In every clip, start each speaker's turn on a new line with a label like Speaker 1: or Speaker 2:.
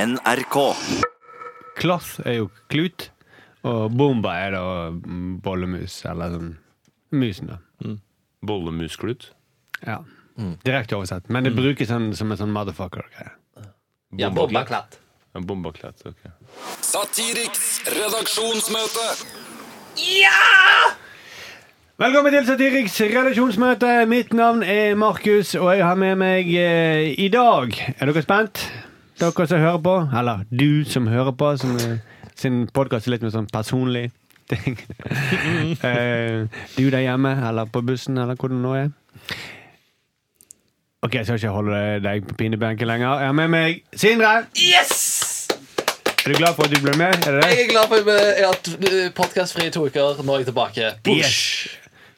Speaker 1: NRK.
Speaker 2: Klass er jo klut, og bomba er da mm, bollemus, eller sånn musen, da.
Speaker 3: Bollemusklut.
Speaker 2: Ja. Direkte oversett. Men det brukes sånn, som en sånn motherfucker-greie.
Speaker 4: Ja, Bobba Klatt.
Speaker 3: Ja, Bombaklatt. ok
Speaker 5: Satiriks redaksjonsmøte.
Speaker 2: Velkommen til Satiriks redaksjonsmøte. Mitt navn er Markus, og jeg har med meg eh, i dag Er dere spent? Dere som hører på? Eller du som hører på, som eh, sin podkast er litt mer sånn personlig ting. Eh, du der hjemme, eller på bussen, eller hvor du nå er. OK, jeg skal ikke holde deg på pinebenken lenger. Jeg har med meg Sindre.
Speaker 4: Yes!
Speaker 2: Er du glad for at du ble med? Er det
Speaker 4: Jeg
Speaker 2: det?
Speaker 4: er glad for at jeg har podkastfri i to uker. Nå er jeg tilbake.
Speaker 2: Yes.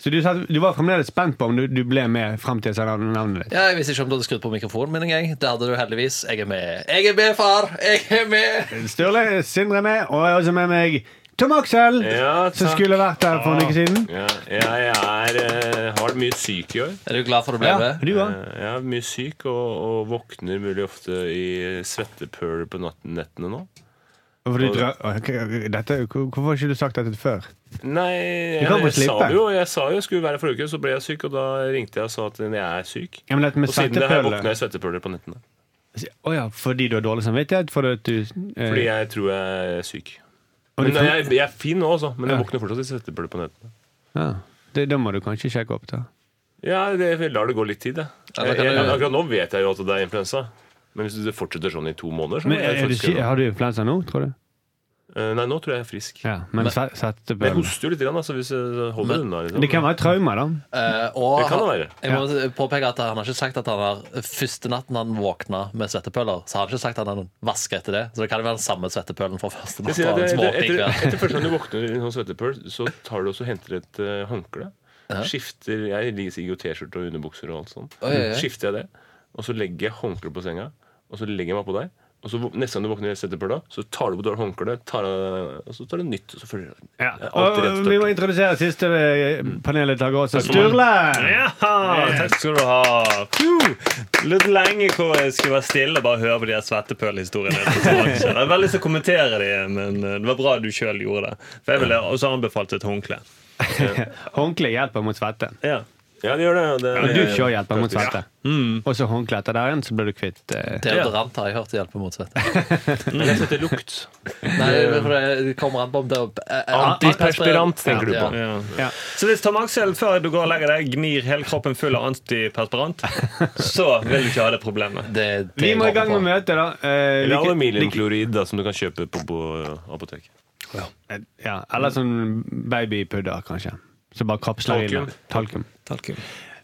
Speaker 2: Så du, satt, du var fremdeles spent på om du, du ble med frem til jeg sa navnet ditt?
Speaker 4: Ja, jeg visste ikke om du hadde skrudd på mikrofonen min engang. Det hadde du heldigvis. Jeg er med. Jeg er med, far! Jeg er med!
Speaker 2: Sturle, Sindre er med, og jeg er også med meg Tom Aksel,
Speaker 3: Ja,
Speaker 2: som
Speaker 3: takk.
Speaker 2: skulle vært her for en uke siden.
Speaker 3: Ja, ja jeg er, eh, har vært mye syk i år.
Speaker 4: Er du glad for at du ble med?
Speaker 2: du
Speaker 3: Eh,
Speaker 2: òg.
Speaker 3: Jeg er mye syk og, og våkner veldig ofte i svettepøler på natten, nettene nå.
Speaker 2: Hvorfor, du drø- Å, ok, dette- hvorfor har ikke du sagt dette før?
Speaker 3: Nei, jeg,
Speaker 2: kan få
Speaker 3: jeg, sa
Speaker 2: slippe.
Speaker 3: jo, jeg sa jo jeg skulle være forrige uke, så ble jeg syk, og da ringte jeg og sa at jeg er syk.
Speaker 2: Ja, men dette med
Speaker 3: Og siden det her
Speaker 2: svettepøle
Speaker 3: våkna jeg i svettepøler på nettene.
Speaker 2: Å ja, fordi du har dårlig samvittighet? Fordi at du eh,
Speaker 3: Fordi jeg tror jeg er syk.
Speaker 2: og du
Speaker 3: Men
Speaker 2: tror-
Speaker 3: jeg, jeg er fin nå, altså. Men jeg
Speaker 2: Ja.
Speaker 3: våkner fortsatt i svettepøler på nettene.
Speaker 2: ja, det, Da må du kanskje sjekke opp, da.
Speaker 3: Ja, det, jeg lar det gå litt tid, jeg.
Speaker 4: Ja, da kan
Speaker 3: jeg, jeg.
Speaker 4: du-
Speaker 3: Akkurat nå vet jeg jo at det er influensa. Men hvis det fortsetter sånn i to måneder, så må
Speaker 2: Men
Speaker 3: jeg
Speaker 2: er du,
Speaker 3: faktisk
Speaker 2: si-
Speaker 3: gjøre noe.
Speaker 2: Har du influensa nå, tror du?
Speaker 3: Eh, Nei, nå tror jeg jeg er frisk.
Speaker 2: Ja, men sve-
Speaker 3: Men jeg
Speaker 2: svettepøle
Speaker 3: hoster jo litt, grann, altså, hvis jeg holder unna. liksom.
Speaker 2: Det kan være traume, da.
Speaker 4: Eh, og
Speaker 3: Det kan det
Speaker 4: jeg må påpeke at han har ikke sagt at han har første natten han våkna med svettepøler, så har han ikke sagt at han vasker etter det. Så det kan jo være den samme svettepølen fra første
Speaker 3: Jeg
Speaker 4: natt.
Speaker 3: sier
Speaker 4: og
Speaker 3: at
Speaker 4: hans
Speaker 3: etter,
Speaker 4: våkning
Speaker 3: etter,
Speaker 4: hver.
Speaker 3: etter første gang du våkner i en sånn svettepøl, så tar du også og henter et eh, håndkle. Skifter Jeg ligger i T-skjorte og underbukser og alt sånt.
Speaker 4: Oi, oi, oi.
Speaker 3: Skifter jeg det, og så legger jeg håndkleet på senga, og så legger jeg meg på deg. Og så vå- Neste gang du våkner i svettepøla, så tar du på deg håndkleet, tar av- og så tar du nytt. Og så følger du
Speaker 2: Ja.
Speaker 3: alltid Mm. rett
Speaker 2: Og vi må
Speaker 3: størt.
Speaker 2: introdusere siste eh, paneldeltaker også. Sturle!
Speaker 6: Ja, takk skal du ha. Phew. Litt lenge hvor jeg skulle være stille og bare høre på de her svettepølhistoriene. Jeg hadde veldig lyst til å kommentere de, men eh, det var bra du sjøl gjorde det. For jeg ville også anbefalt et håndkle.
Speaker 2: Håndkle hjelper mot svette.
Speaker 6: Ja.
Speaker 3: Ja, det gjør det. og det
Speaker 2: Men dusj òg hjelper mot
Speaker 3: praktisk.
Speaker 2: svette. Og så håndkle etter der igjen, så blir du kvitt eh,
Speaker 4: Deodorant har jeg hørt hjelper mot svette.
Speaker 3: Men jeg setter lukt.
Speaker 4: Nei, for det kommer an på om det er
Speaker 3: Antiperspirant, tenker du på.
Speaker 6: Ja.
Speaker 2: Ja.
Speaker 6: Så hvis Tom Aksel før du går og legger deg gnir hele kroppen full av antiperspirant, så vil du ikke ha det problemet.
Speaker 4: Det, er det
Speaker 2: Vi må i
Speaker 4: jeg
Speaker 2: gang med
Speaker 4: håper på.
Speaker 2: møtet, da. Eh,
Speaker 3: Eller
Speaker 2: hvilke-
Speaker 3: aluminiumklorid, da, som du kan kjøpe på, på apoteket.
Speaker 2: hvilke- eh, ja, eller sånn babypudder, kanskje. Så bare kapsler inn.
Speaker 3: Talkum.
Speaker 2: Talkum.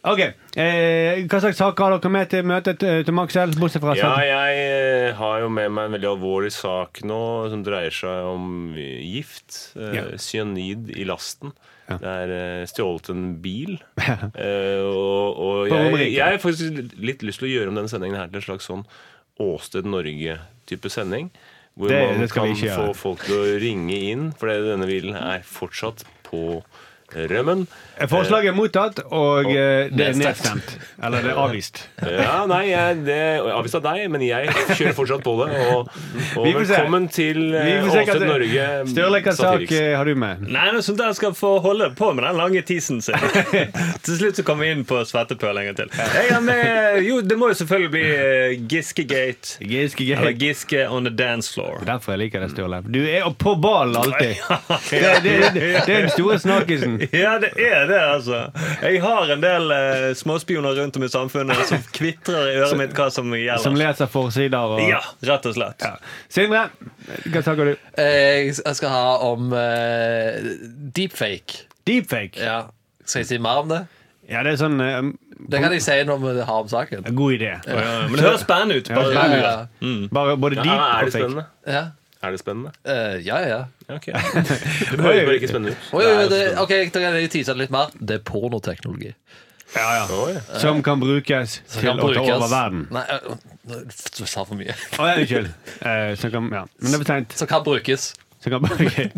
Speaker 2: Ok, eh, Hva slags saker har dere med til møtet eh, til Maxel, bortsett fra
Speaker 3: Ja,
Speaker 2: svette?
Speaker 3: jeg eh, har jo med meg en veldig alvorlig sak nå som dreier seg om eh, gift. eh,
Speaker 2: Ja.
Speaker 3: Cyanid i lasten.
Speaker 2: Ja.
Speaker 3: Det er eh, stjålet en bil. eh, og og
Speaker 2: På
Speaker 3: jeg,
Speaker 2: Romerike.
Speaker 3: jeg har faktisk litt- litt lyst til å gjøre om denne sendingen her til en slags sånn Åsted Norge-type sending. Hvor
Speaker 2: Det-
Speaker 3: man
Speaker 2: det skal vi
Speaker 3: kan
Speaker 2: ikke
Speaker 3: få
Speaker 2: gjøre.
Speaker 3: folk til å ringe inn, for det- denne bilen er fortsatt på rømmen.
Speaker 2: Forslaget er mottatt, og eh, det er
Speaker 4: nedstemt.
Speaker 2: nedstemt. Eller det er avvist.
Speaker 3: Ja, nei, jeg, det avvist av deg, men jeg kjører fortsatt på det. Og, og
Speaker 2: Vi får se.
Speaker 3: velkommen til eh,
Speaker 2: Vi får se hva
Speaker 3: Åsted
Speaker 2: det-
Speaker 3: Norge
Speaker 2: Sturle, hva sak
Speaker 3: Satiriks.
Speaker 2: eh, har du med?
Speaker 6: Nei, noe sånt der skal få holde på med den lange tisen sin. til slutt så kommer vi inn på svettepøl en gang til. Jeg har med, jo, det må jo selvfølgelig bli eh, Giskegate.
Speaker 2: Giske
Speaker 6: Eller
Speaker 2: Gate.
Speaker 6: Giske on the dance floor.
Speaker 2: Derfor jeg liker deg, Sturle. Du er på ballen alltid. Det, det, det, det er den store snakkisen.
Speaker 6: Ja, det er det, altså. Jeg har en del eh, småspioner rundt om i samfunnet som kvitrer i øret mitt hva som
Speaker 2: Som
Speaker 6: gjelder.
Speaker 2: leser forsider og
Speaker 6: Ja, rett og slett.
Speaker 2: Sindre, hva snakker du?
Speaker 4: Eh, Jeg skal ha om eh, deepfake.
Speaker 2: Deepfake.
Speaker 4: Ja. Skal jeg si mer om det?
Speaker 2: Ja, det er sånn eh,
Speaker 4: Det kan jeg si når vi har om saken.
Speaker 2: God idé.
Speaker 6: Ja, ja, Men det høres spennende ut.
Speaker 2: Ja,
Speaker 6: Bare.
Speaker 2: spennende.
Speaker 4: Ja,
Speaker 2: Bare både
Speaker 3: Ja,
Speaker 2: deep
Speaker 3: er
Speaker 2: og
Speaker 3: det
Speaker 2: fake.
Speaker 3: spennende?
Speaker 4: ja.
Speaker 3: Er det spennende?
Speaker 4: Eh, ja, ja.
Speaker 3: Ja, ok. Det høres bare ikke spennende ut.
Speaker 4: Oi, oi, oi,
Speaker 3: Det
Speaker 4: det,
Speaker 3: er jo
Speaker 4: ok, Da kan jeg tease det litt mer. Det er pornoteknologi.
Speaker 3: spennende. Oi.
Speaker 2: Som kan brukes til
Speaker 4: Kan
Speaker 2: å ta
Speaker 4: brukes-
Speaker 2: over verden.
Speaker 4: Nei, eh, du sa for mye.
Speaker 2: Å, ja, unnskyld. Eh, som kan, ja. Men det er for seint.
Speaker 4: Som kan brukes.
Speaker 2: Som kan bare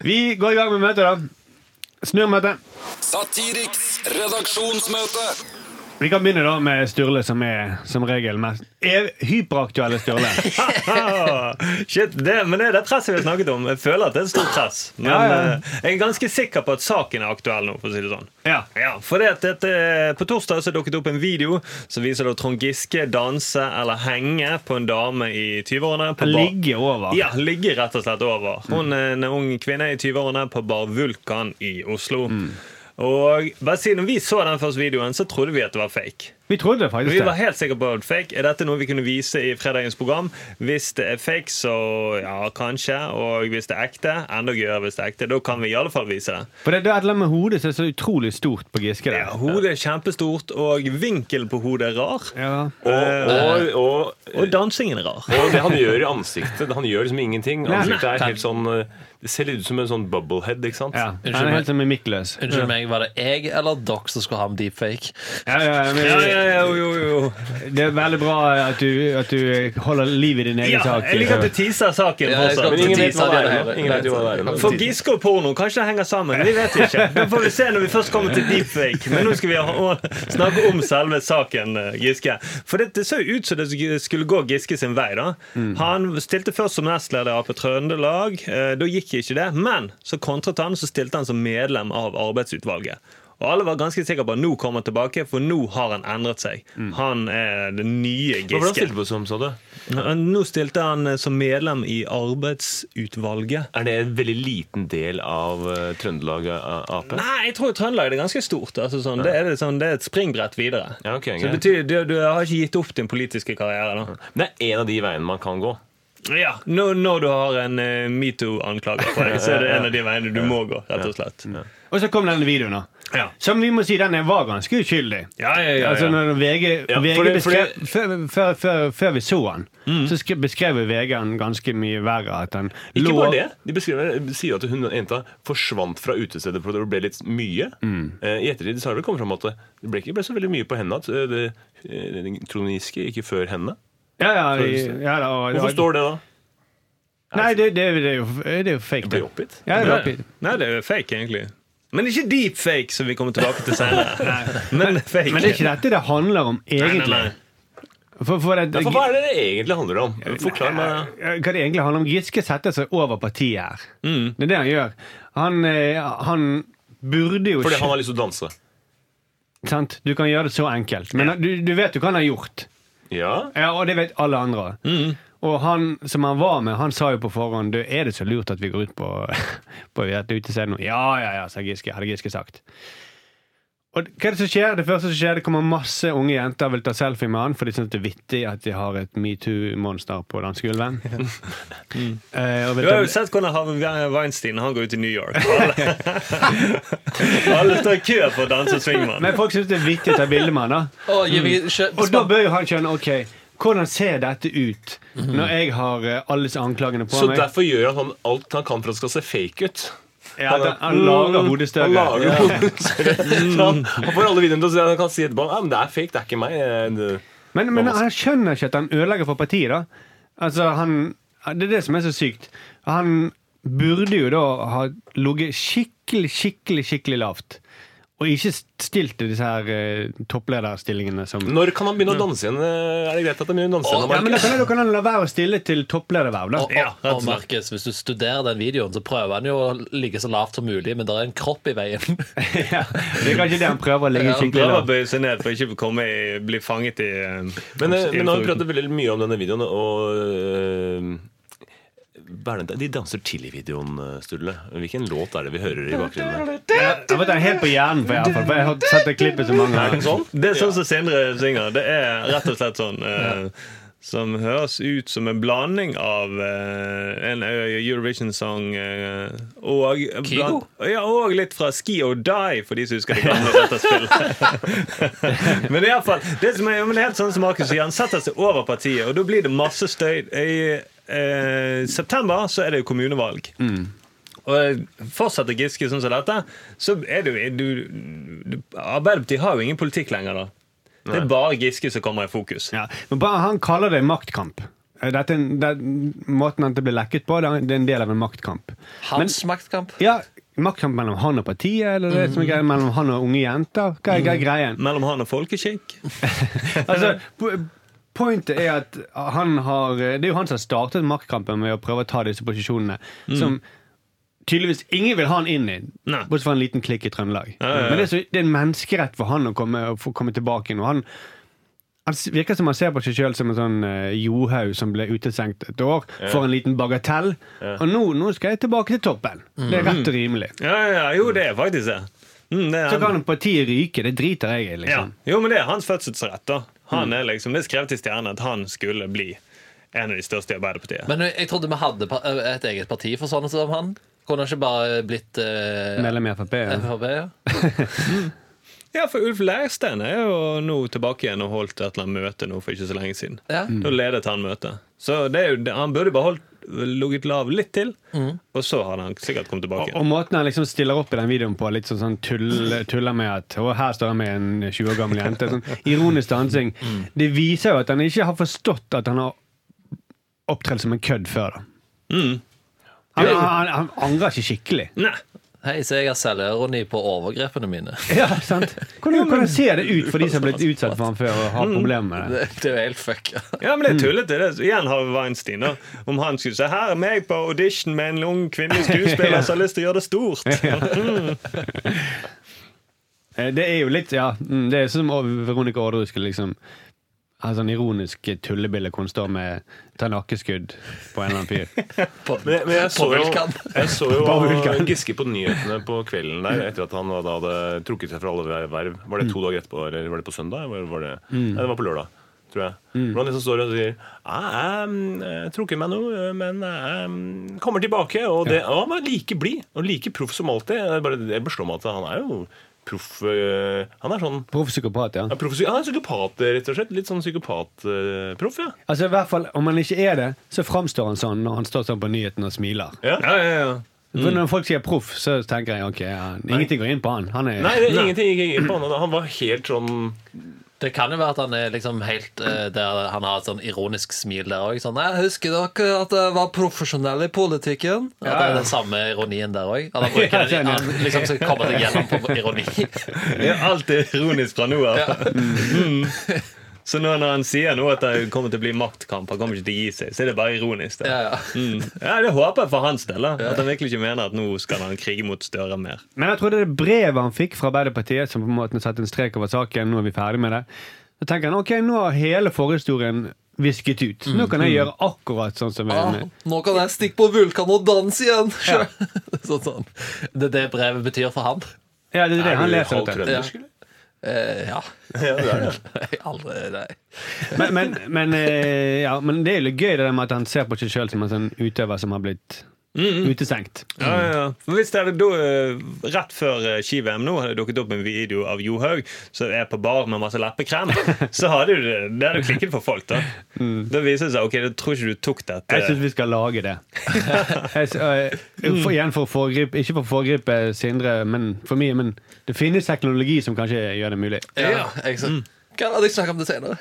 Speaker 2: Vi går i gang med møtet, da. Snurr møtet.
Speaker 5: Satiriks redaksjonsmøte.
Speaker 2: Vi kan begynne da med Sturle, som er som regel mest er hyperaktuelle Sturle.
Speaker 6: Ah, Shit, det, men det er det presset vi har snakket om. Jeg føler at det er et stort press. Men
Speaker 2: Ja, ja.
Speaker 6: eh, jeg er ganske sikker på at saken er aktuell nå. for å si det sånn.
Speaker 2: Ja.
Speaker 6: Ja, for det at dette, eh, På torsdag så dukket det opp en video som viser da Trond Giske danse eller henge på en dame i 20-årene. på bar-
Speaker 2: Ligge over.
Speaker 6: Ja, Mm. ligge rett og slett over. Hun er en ung kvinne i 20-årene på Bar Vulkan i Oslo. Og bare siden vi så den første videoen, så trodde vi at det var fake.
Speaker 2: Vi trodde faktisk
Speaker 6: Vi var
Speaker 2: det.
Speaker 6: helt sikre på at fake. Er dette noe vi kunne vise i fredagens program? Hvis det er fake, så ja, kanskje. Og hvis det er ekte, enda gøyere hvis det er ekte. Da kan vi i alle fall vise det.
Speaker 2: For det, det er et eller annet med hodet som er så utrolig stort på Giske. der.
Speaker 6: Ja, hodet er kjempestort, og vinkelen på hodet er rar.
Speaker 2: Ja.
Speaker 3: Og, Eh, og, og,
Speaker 6: Og dansingen er rar.
Speaker 3: og det han gjør i ansiktet Han gjør liksom ingenting. Ansiktet er
Speaker 4: Nei.
Speaker 3: helt sånn eh, Det ser litt ut som en sånn bubblehead, ikke sant?
Speaker 2: Ja.
Speaker 4: Unnskyld
Speaker 2: Han er
Speaker 4: meg.
Speaker 2: helt som en Mikkeløs.
Speaker 4: Unnskyld meg, var det jeg eller dere som skulle ha med deepfake?
Speaker 2: Ja, ja, men-
Speaker 6: Ja, ja, ja, jo, jo, jo.
Speaker 2: Det er veldig bra at du, at du holder liv i din egen
Speaker 6: Ja,
Speaker 2: sak. liksom.
Speaker 6: jeg liker at du teaser
Speaker 4: Ja,
Speaker 6: saken
Speaker 4: jeg skal
Speaker 3: Men
Speaker 6: fortsatt.
Speaker 4: til
Speaker 3: ingen vet hva det er. nå.
Speaker 4: teaser det
Speaker 3: Ingen vet jo hva det er. nå.
Speaker 6: For Giske og porno, kanskje det henger sammen. Vi vet ikke. Det får vi se når vi først kommer til deepfake. Men nå skal vi ha- snakke om selve saken, eh, Giske. For det, det så jo ut som det skulle gå Giske sin vei. da
Speaker 3: Mm.
Speaker 6: Han stilte først som nestleder i Ap Trøndelag. Eh, Da gikk ikke det. Men så kontret han, så stilte han som medlem av arbeidsutvalget. Og alle var ganske sikre på at nå kommer han tilbake, for nå har han endret seg. Han er den nye
Speaker 3: Mm. Hva var det han
Speaker 6: Giske.
Speaker 3: stilte på som, sa du?
Speaker 6: Nå stilte han eh, som medlem i arbeidsutvalget.
Speaker 3: Er det en veldig liten del av eh, Trøndelag eh, Ap?
Speaker 6: Nei, jeg tror Trøndelag er ganske stort. Altså, sånn, det, er det, sånn, det er et springbrett videre.
Speaker 3: Ja, ok,
Speaker 6: Så
Speaker 3: greit.
Speaker 6: det betyr, du, du har ikke gitt opp din politiske karriere. Da.
Speaker 3: Det er en av de veiene man kan gå.
Speaker 6: Ja, Når, når du har en eh, metoo-anklage på deg, så er det en av de veiene du må gå. rett og slett.
Speaker 2: Og så kom denne videoen, da.
Speaker 6: Ja.
Speaker 2: Som vi må si, den var ganske uskyldig.
Speaker 6: Ja, ja, ja,
Speaker 2: Altså
Speaker 6: ja.
Speaker 2: når VG,
Speaker 3: Ja,
Speaker 2: VG
Speaker 3: for det- for
Speaker 2: beskrev, før, før, før, før vi så han, så skre- beskrev VG han ganske mye verre. At han
Speaker 3: Ikke
Speaker 2: lå
Speaker 3: bare det. De beskriver, sier at hun jenta forsvant fra utestedet fordi det ble litt mye. Eh, I ettertid så har det kommet fram at det ble ikke ble så veldig mye på henne. At eh, det, eh, Trond Giske gikk jo før henne.
Speaker 2: Ja, ja, i- ja, da, og-
Speaker 3: Hvorfor står det da?
Speaker 2: Nei, det, det, det, er jo, det er jo fake.
Speaker 3: Ble oppgitt?
Speaker 2: Ja, det er oppgitt.
Speaker 6: Nei, det er jo fake, egentlig. Men ikke deep fake, som vi kommer tilbake til senere. Men fake.
Speaker 2: Men det er ikke dette det handler om,
Speaker 6: Nei,
Speaker 2: egentlig.
Speaker 6: nei, nei.
Speaker 2: For, for det,
Speaker 3: For hva er det det egentlig handler om? Forklar meg.
Speaker 2: Hva det egentlig handler om. Giske setter seg over partiet her.
Speaker 3: Mm.
Speaker 2: Det er det han gjør. Han, eh, han burde jo
Speaker 3: Fordi han har lyst til å danse.
Speaker 2: sant? Du kan gjøre det så enkelt. Men du, du vet jo hva han har gjort.
Speaker 3: Ja.
Speaker 2: Ja, Og det vet alle andre.
Speaker 3: Mm.
Speaker 2: Og han som han var med, han sa jo på forhånd du, Er det så lurt at vi går ut på, på et utested nå? Ja, ja, ja, sa Giske. Hadde Giske sagt. Og hva er det som skjer? Det første som skjer, det kommer masse unge jenter vil ta selfie med han, for de syns det er vittig at de har et metoo-monster på dansegulvet.
Speaker 3: Mm.
Speaker 2: Eh, og vil
Speaker 6: Du har jo
Speaker 2: ta-
Speaker 6: sett hvordan Harvey Weinstein han går ut i New York. Alle, Alle står i kø for å danse swingman.
Speaker 2: Men folk syns det er vittig å ta bilde med han, da.
Speaker 4: Å, gi meg kjø-
Speaker 2: Og da bør jo han skjønne OK, hvordan ser dette ut når jeg har eh, alles anklagene på
Speaker 3: Mm. Så
Speaker 2: meg?
Speaker 3: derfor gjør han alt han kan for at det skal se fake ut.
Speaker 2: Ja, at han, han lager
Speaker 3: Mm. Han
Speaker 2: hodestøvet.
Speaker 3: lager hodestøvet. Så han, han får alle videoene til å se. Han kan si etterpå ja, men det er fake, det er ikke meg. eh, det-
Speaker 2: Men, men han skjønner ikke at han ødelegger for partiet, da. Altså, han, det er det som er så sykt. Han burde jo da ha ligget skikkelig, skikkelig, skikkelig lavt. Og ikke stilt i disse her eh, topplederstillingene som
Speaker 3: Når kan han begynne å danse igjen? eh, Er det greit at han begynner å danse igjen?
Speaker 4: Å,
Speaker 2: Mm. Ja,
Speaker 3: Mark?
Speaker 2: men da kan, da kan han la være å stille til topplederverv, da.
Speaker 4: Og,
Speaker 6: Ja,
Speaker 4: og, og Markus, hvis du studerer den videoen, så prøver han jo å ligge så lavt som mulig, men det er en kropp i veien.
Speaker 2: Ja, det er kanskje det han prøver å ligge
Speaker 4: han
Speaker 2: skikkelig
Speaker 6: Prøver å
Speaker 2: lavt.
Speaker 6: bøye seg ned for ikke å komme i, bli fanget i eh,
Speaker 3: Men, eh, men nå har vi
Speaker 6: innenfor-
Speaker 3: pratet veldig mye om denne videoen, og eh, hva er det- de danser til i videoen, eh, Sturle. Hvilken låt er det vi hører i bakgrunnen? der?
Speaker 2: Jeg jeg vet det er helt på hjernen, for, i hvert fall, for jeg har sett det klippet så mange
Speaker 3: Er den
Speaker 2: ganger.
Speaker 3: sånn?
Speaker 6: Det er sånn som Sindre synger. Det er rett og slett sånn eh, Som høres ut som en blanding av eh, en eh, Eurovision-sang eh, og
Speaker 4: Kygo?
Speaker 6: bland- Ja, og litt fra Ski or Die, for de som husker det gamle dataspillet. men i alle fall, det som er, men det er helt sånn som Markus sier, han setter seg over partiet, og da blir det masse støy. I eh, september så er det jo kommunevalg. Og fortsetter Giske sånn som dette, så er det jo er du, du, Arbeiderpartiet har jo ingen politikk lenger, da. Det er bare Giske som kommer i fokus.
Speaker 2: Ja. Men bare han kaller det maktkamp. Eh, Dette, er en- det, måten han ble lekket på, det er en del av en maktkamp.
Speaker 4: Hans maktkamp. Mhm.
Speaker 2: Ja, maktkamp mellom han og partiet, eller det som er greia mellom han og unge jenter? Hva er, hva er greien?
Speaker 6: Mellom han og folkeskikk.
Speaker 2: Altså,
Speaker 6: Eh.
Speaker 2: po pointet er at han har eh, Det er jo han som har startet maktkampen med å prøve å ta disse posisjonene. Som tydeligvis ingen vil ha han inn i,
Speaker 6: Mm. Nei.
Speaker 2: bortsett fra en liten klikk i Trøndelag.
Speaker 6: ja, ja.
Speaker 2: Men det er, så, det er en menneskerett for han å komme, å få komme tilbake igjen. og Han, han s- virker som han ser på seg sjøl som en sånn eh, Johaug som ble utestengt et år for en liten bagatell. Og nå, nå skal jeg tilbake til toppen. Det er rett og rimelig.
Speaker 6: Ja, ja, ja, jo, det er faktisk det. Mm, det er
Speaker 2: Så
Speaker 6: han.
Speaker 2: kan partiet ryke. Det driter jeg i,
Speaker 6: Ja.
Speaker 2: liksom.
Speaker 6: Jo, men det er hans fødselsrett. da han er liksom, Det er skrevet i stjernene at han skulle bli en av de største i Arbeiderpartiet.
Speaker 4: Men jeg trodde vi hadde pa- eh, et eget parti for sånne som han. Kunne han ikke bare blitt eh,
Speaker 2: Medlem i Frp. Ja.
Speaker 4: FrP? ja?
Speaker 6: Ja, for Ulf Leirstein er jo nå tilbake igjen og holdt et eller annet møte nå for ikke så lenge siden.
Speaker 4: Ja.
Speaker 6: Da ledet han møtet. Så det er jo, det- han burde bare holdt, ligget lav litt til, og så hadde han sikkert kommet tilbake.
Speaker 2: Og måten han liksom stiller opp i den videoen på, litt sånn, sånn tull, tuller med at Og her står han med en 20 år gammel jente. Sånn ironisk dansing. Det viser jo at han ikke har forstått at han har opptredd som en kødd før. da. Mm. Han, han, han angrer ikke skikkelig.
Speaker 6: Nei,
Speaker 4: Hei, så jeg har selvironi på overgrepene mine.
Speaker 2: Ja, sant? Hvordan, hvordan ser det ut for de som har blitt utsatt for han før og har problemer med Mm. det?
Speaker 4: Det, det er jo helt fucka.
Speaker 6: ja, men det er tullete. Det. er- Igjen har vi Weinstein. da Om han skulle si 'her er meg på audition med en ung kvinnelig skuespiller som har lyst til å gjøre det stort'.
Speaker 2: Eh, Det er jo litt Ja, mm, det er som om Veronica Orderud skulle liksom ha sånn ironisk tullebille hvor hun står med tar nakkeskudd på en eller annen fyr.
Speaker 4: På-
Speaker 3: Men, jeg- men jeg, så
Speaker 4: På
Speaker 3: jo,
Speaker 4: vulkan.
Speaker 3: jeg så jo
Speaker 2: På vulkan.
Speaker 3: Giske på nyhetene på kvelden der etter at han da hadde trukket seg fra alle verv. Var
Speaker 2: Mm.
Speaker 3: det to dager etterpå, eller var det på søndag? Eller var det? Nei, det var på lørdag, tror jeg.
Speaker 2: Mm.
Speaker 3: Hvor han liksom står og sier «Jeg, em, Jeg trukker meg nå, eh, men jeg em, kommer tilbake. Og det, og han var like blid og like proff som alltid. Jeg, bare, jeg beslår meg at han er jo proff øh, Han er sånn
Speaker 2: Proff psykopat, ja.
Speaker 3: ja, proff- han er psykopat, rett og slett. Litt sånn psykopatproff, ja.
Speaker 2: Altså i hvert fall, Om han ikke er det, så framstår han sånn når han står sånn på nyheten og smiler.
Speaker 3: ja.
Speaker 6: Ja, ja, ja.
Speaker 2: For Når folk sier proff, så tenker jeg ok, ja, ingenting går inn på han. Han er
Speaker 3: Nei, det, ingenting gikk inn på han. Han var helt sånn
Speaker 4: Det kan jo være at han er liksom helt eh, der han har et sånn ironisk smil der òg. Sånn, «Nei, 'Husker dere at jeg var profesjonell i politikken?' At det
Speaker 2: ja.
Speaker 4: er den samme ironien der òg. Han
Speaker 2: Ja, jeg
Speaker 4: bruker
Speaker 2: skjønner.
Speaker 4: han liksom skal komme seg gjennom på ironi.
Speaker 6: Ja, alt er ironisk fra nå av. Mm. Så nå når han sier nå at det kommer til å bli maktkamp, han kommer ikke til å gi seg, så er det bare ironisk. Det.
Speaker 4: Ja, ja.
Speaker 6: Mm. ja, det håper jeg for hans del. da At han virkelig ikke mener at nå skal han krige mot Støre mer.
Speaker 2: Men jeg trodde det brevet han fikk fra Arbeiderpartiet, som på en måte satte en strek over saken, nå er vi ferdig med det. Så tenker han ok, nå har hele forhistorien visket ut. Nå kan jeg gjøre akkurat sånn som jeg
Speaker 4: Ah,
Speaker 2: vil.
Speaker 4: nå kan jeg stikke på Vulkan og danse igjen! sånn, sånn. Det er det brevet betyr for han.
Speaker 2: Ja, det er det han
Speaker 3: du
Speaker 2: leser.
Speaker 3: halv
Speaker 2: dette.
Speaker 3: trønder,
Speaker 4: Ja.
Speaker 3: skulle?
Speaker 4: Eh, ja.
Speaker 3: Ja, det er det.
Speaker 4: Jeg aldri, nei.
Speaker 2: Men, men, men, eh, ja, men det er jo litt gøy det der med at han ser på seg sjøl som en sånn utøver som har blitt utestengt.
Speaker 6: Ja, ja, ja. For Hvis det hadde da, eh, rett før eh, ski-VM nå hadde det dukket opp en video av Johaug som er på bar med masse leppekrem, så hadde jo det, det hadde klikket for folk. Da Da viser det seg ok, da tror ikke du tok eh, dette.
Speaker 2: Jeg syns vi skal lage det. Jeg, s- øh, for, igjen for å foregripe, ikke for å foregripe Sindre men for mye, men det finnes teknologi som kanskje gjør det mulig.
Speaker 4: Ja, jeg, så, Kan jeg snakke om det senere?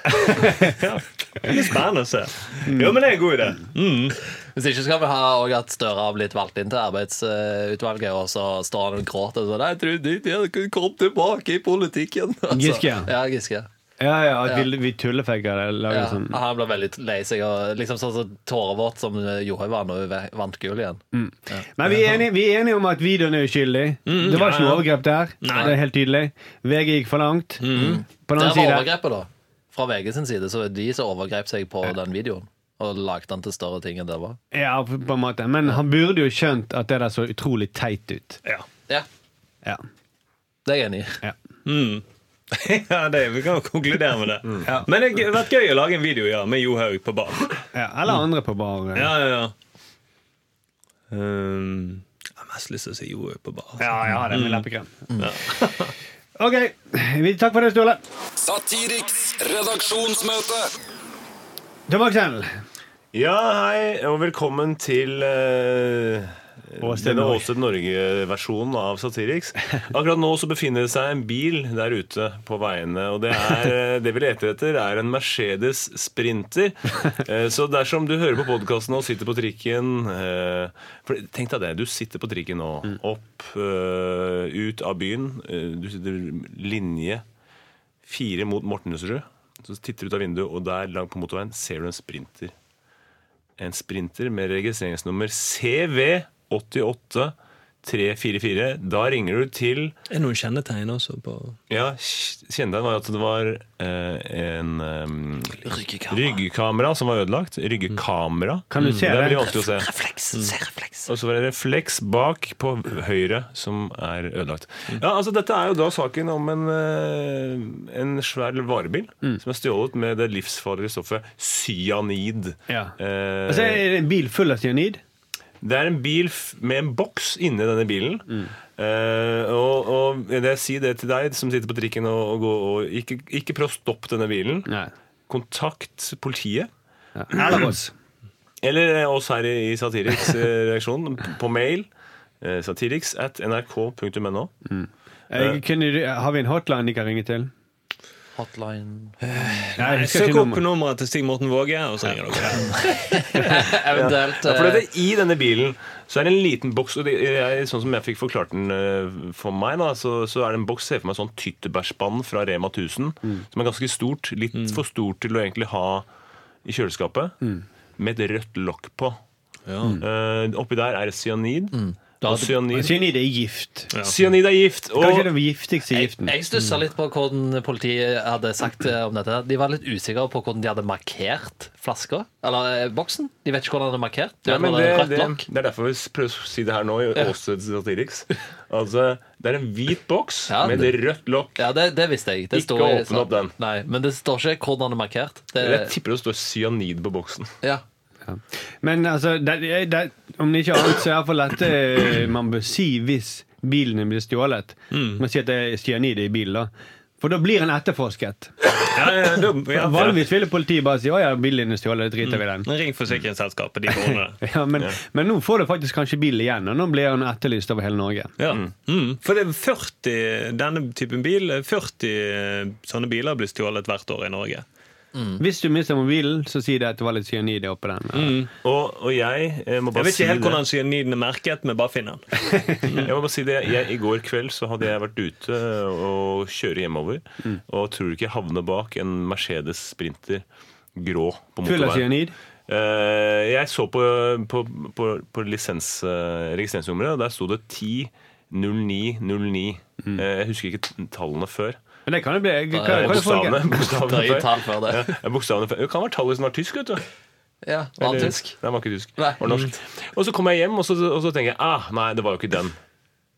Speaker 6: ja. Det blir spennende å se. Jo, men det er en god idé.
Speaker 4: Hvis ikke skal vi ha og at Støre har blitt valgt inn til arbeidsutvalget, og så står han og gråter og sånn 'Nei, Trudy, jeg kom tilbake i politikken'. Altså,
Speaker 2: Giske, ja.
Speaker 4: ja. Giske.
Speaker 2: Ja, ja, at vi, vi tullefegger det. Lager
Speaker 4: Ja,
Speaker 3: liksom.
Speaker 2: sånn.
Speaker 4: han ble veldig lei seg, og liksom sånn som tårevåt som Johaug var når hun vant gull igjen.
Speaker 3: Mm.
Speaker 2: Men vi er, enige, vi er enige om at videoen er uskyldig. Det var ikke noe overgrep der. Det er helt tydelig. VG gikk for langt. På den
Speaker 4: Der
Speaker 2: annen
Speaker 4: var
Speaker 2: side
Speaker 4: overgrepet, da. Fra VG sin side, så er de som overgrep seg på den videoen. Og lagde den til større ting enn det var.
Speaker 2: Ja, på en måte. Men han burde jo skjønt at det der så utrolig teit ut.
Speaker 6: Ja.
Speaker 4: Ja,
Speaker 2: Ja.
Speaker 4: det er jeg enig i.
Speaker 2: ja.
Speaker 6: ja, det, vi kan jo konkludere med det. Men det har vært gøy å lage en video ja, med Johaug på bar.
Speaker 2: ja. Eller andre på bar. eh.
Speaker 6: Ja, ja, ja. Um, jeg har mest lyst til å si Johaug på bar.
Speaker 2: ja, ja det med leppekrem. Mm. OK. Vi, takk for det, Ståle.
Speaker 5: Satiriks redaksjonsmøte.
Speaker 2: Tobakkskjell.
Speaker 3: Ja, hei, og velkommen til eh,
Speaker 2: Åsted
Speaker 3: denne
Speaker 2: Norge.
Speaker 3: Åsted Norge-versjonen av Satiriks. Akkurat nå så befinner det seg en bil der ute på veiene. Og det, er, eh, det vi leter etter, er en Mercedes Sprinter. Eh, Så dersom du hører på podkasten og sitter på trikken eh, For tenk deg det, du sitter på trikken nå.
Speaker 2: Mm.
Speaker 3: Opp, eh, ut av byen. eh, Du sitter linje fire mot Mortensrud. Så titter du ut av vinduet, og der langt på motorveien ser du en sprinter. En sprinter med registreringsnummer CV88344. Da ringer du til
Speaker 6: Er det noen kjennetegn også på
Speaker 3: Ja, kjennetegn var jo at det var eh, en eh,
Speaker 4: Ryggekamera.
Speaker 3: ryggekamera som var ødelagt. Ryggekamera.
Speaker 2: Kan du
Speaker 3: Mm.
Speaker 2: se
Speaker 3: det? er
Speaker 2: det?
Speaker 3: veldig vanskelig å se.
Speaker 4: Refleks. Se refleks.
Speaker 3: Og så var det refleks bak på høyre som er ødelagt. Ja, altså Dette er jo da saken om en, eh, en svær varebil
Speaker 2: Mm.
Speaker 3: som er stjålet med det livsfarlige stoffet cyanid.
Speaker 2: Ja.
Speaker 3: Eh,
Speaker 2: Altså, er det en bil full av cyanid?
Speaker 3: det er en bil f- med en boks inni denne bilen. Eh, og, og det jeg sier det til deg som sitter på trikken og, og går og ikke, ikke prøv å stoppe denne bilen.
Speaker 2: Nei.
Speaker 3: Kontakt politiet.
Speaker 2: Ja. Eller oss.
Speaker 3: Eller eh, oss her i i Satiriks eh, reaksjon på mail. eh, Satiriks at nrk.no.
Speaker 2: Eh, kunne du, har vi en hotline de kan ringe til?
Speaker 4: Hotline
Speaker 2: Nei, jeg husker
Speaker 6: Søk
Speaker 2: ikke
Speaker 6: opp
Speaker 2: nummeret.
Speaker 6: nummeret til Stig Morten Våge, og så ringer dere.
Speaker 4: Eventuelt
Speaker 3: Ja, for
Speaker 4: eh,
Speaker 3: dette, I denne bilen så er det en liten boks. Og det er, sånn som jeg fikk forklart den eh, for meg, da, så, så er det en boks ser jeg for meg sånn tyttebærspann fra Rema 1000. Som er ganske stort. Litt for stort til å egentlig ha i kjøleskapet. Med et rødt lokk på. Eh, oppi der er det cyanid. Og cyanid,
Speaker 2: Cyanid er gift.
Speaker 3: cyanid er gift.
Speaker 2: Kanskje
Speaker 3: Og
Speaker 2: den giftigste giften.
Speaker 4: eh, Jeg stussa litt på hvordan politiet hadde sagt eh, om dette. De var litt usikre på hvordan de hadde markert flaska. Eller eh, boksen. De vet ikke hvordan de hadde markert. De
Speaker 3: Ja,
Speaker 4: vet
Speaker 3: men
Speaker 4: bare
Speaker 3: det,
Speaker 4: rødt
Speaker 3: det,
Speaker 4: lokk.
Speaker 3: det er derfor vi prøver å si det her nå i Åsted Satiriks. Altså, det er en hvit boks
Speaker 4: Ja,
Speaker 3: med
Speaker 4: det-
Speaker 3: et rødt lokk.
Speaker 4: Ja, det, det visste jeg. Det
Speaker 3: Ikke
Speaker 4: står i- sånn-
Speaker 3: åpne opp den.
Speaker 4: Nei, men det står ikke hvordan det er markert. Det,
Speaker 3: Jeg tipper det står cyanid på boksen.
Speaker 4: ja.
Speaker 2: Men altså, det, det, om det ikke er annet, så er iallfall dette eh, man bør si hvis bilene blir stjålet.
Speaker 6: Mm.
Speaker 2: Man sier at det er cyanid i bilen, da. For da blir han etterforsket.
Speaker 6: Ja, ja, ja, ja.
Speaker 2: Vanligvis ville politiet bare si 'Å ja, bilen er stjålet, driter vi i den'.
Speaker 6: Ring forsikringsselskapet, de får ordne det.
Speaker 2: Ja, men, men nå får du faktisk kanskje bil igjen, og nå blir han etterlyst over hele Norge.
Speaker 6: Ja. Mm. For det er 40, denne typen bil 40 eh, sånne biler blir stjålet hvert år i Norge.
Speaker 2: Hvis du mister mobilen, så si det at det var litt cyanid oppi den.
Speaker 3: Og, og jeg eh, må
Speaker 6: Jeg
Speaker 3: bare
Speaker 6: vet
Speaker 3: si
Speaker 6: ikke helt
Speaker 3: det.
Speaker 6: hvordan cyaniden er merket, men bare finn den.
Speaker 3: Jeg må bare si det. Jeg, I går kveld så hadde jeg vært ute og kjøre hjemover, og tror ikke jeg havner bak en Mercedes Sprinter grå
Speaker 2: Full
Speaker 3: på
Speaker 2: av
Speaker 3: motorveien.
Speaker 2: cyanid.
Speaker 3: Eh, jeg så på, på, på, på lisens, eh, registreringsnummeret, og der sto det 100909. Eh, jeg husker ikke t- tallene før. Eh,
Speaker 2: Men det kan jo bli kan,
Speaker 4: er
Speaker 2: kan jo folk-
Speaker 3: Bokstavene. bokstavene
Speaker 4: Drøye
Speaker 3: før.
Speaker 4: tall før det.
Speaker 3: Ja, bokstavene før. Det kan være tallet som var tysk, vet du.
Speaker 4: ja var han tysk?
Speaker 3: Nei, den var ikke tysk.
Speaker 4: Nei. Mm.
Speaker 3: Var norsk. Og så kom jeg hjem, og så, og så tenker jeg ah, nei, det var jo ikke den.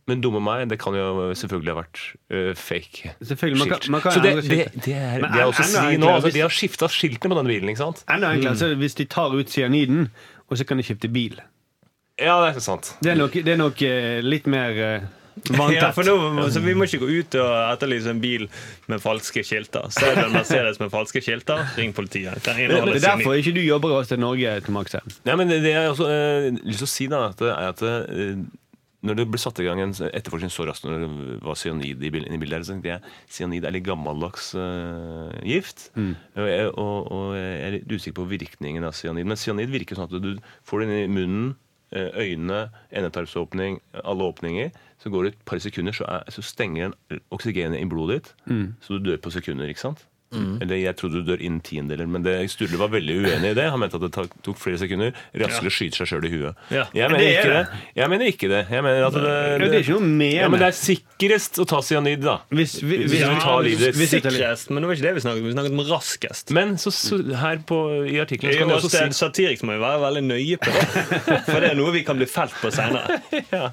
Speaker 3: Men dumme meg, det kan jo selvfølgelig ha vært øh, fake.
Speaker 2: Selvfølgelig, man kan-
Speaker 3: skilt.
Speaker 2: man kan
Speaker 3: så det,
Speaker 2: endre
Speaker 3: det,
Speaker 2: skiltet.
Speaker 3: det er,
Speaker 2: Men
Speaker 3: det er
Speaker 2: en-
Speaker 3: også
Speaker 2: enda
Speaker 3: svi nå.
Speaker 2: enklere
Speaker 3: Altså,
Speaker 2: hvis-
Speaker 3: de har skifta skiltene på den bilen, ikke sant?
Speaker 2: Enda enklere så er det hvis de tar ut cyaniden, og så kan de skifte bil.
Speaker 3: Ja, det er sant.
Speaker 2: Det er nok, det er nok eh, litt mer eh, vanntett.
Speaker 6: Ja, for nå, så vi må ikke gå ut og etterlyse en bil med falske skilter. Ser du en Mercedes med falske skilter, ring politiet. Den
Speaker 2: det
Speaker 6: inneholder
Speaker 2: er derfor
Speaker 6: cyanid.
Speaker 2: ikke du jobber hos til Norge, Tom Aksel.
Speaker 3: Nei, men det, det jeg også øh, lyst til å si, da, at det er at øh, når det ble satt i gang en etterforskning så raskt når det var cyanid i bil- i bildet, her, så tenkte jeg cyanid er litt gammeldags øh, gift. Og, jeg, og, og jeg er litt usikker på virkningen av cyanid. Men cyanid virker sånn at du får det inn i munnen, øh, øynene, endetarmsåpning, alle åpninger. Så går det et par sekunder, så, er, så stenger den oksygenet i blodet ditt. Så du dør på sekunder, ikke sant?
Speaker 2: Mm.
Speaker 3: Eller jeg trodde du dør innen tiendedeler, men det, Sturle var veldig uenig i det. Han mente at det tak- tok flere sekunder. Raskere skyter seg sjøl i huet.
Speaker 6: Ja.
Speaker 3: Jeg
Speaker 2: Men
Speaker 3: mener
Speaker 2: det er
Speaker 3: ikke
Speaker 2: det.
Speaker 3: det. Jeg mener ikke det. Jeg mener at det,
Speaker 2: Ja, det er ikke noe med
Speaker 3: ja, men det er sikrest å ta cyanid, da.
Speaker 2: Hvis vi-
Speaker 3: Hvis
Speaker 2: hvis-
Speaker 3: du tar livet
Speaker 2: hvis-
Speaker 3: ditt.
Speaker 6: Sikrest, men det var ikke det vi snakket om. Vi snakket om raskest.
Speaker 3: Men så, så, her på, i artikkelen så
Speaker 6: I
Speaker 3: kan de
Speaker 6: og
Speaker 3: også
Speaker 6: med at det er
Speaker 3: si
Speaker 6: satirisk må vi være veldig nøye på det. For det er noe vi kan bli felt på seinere.
Speaker 3: ja.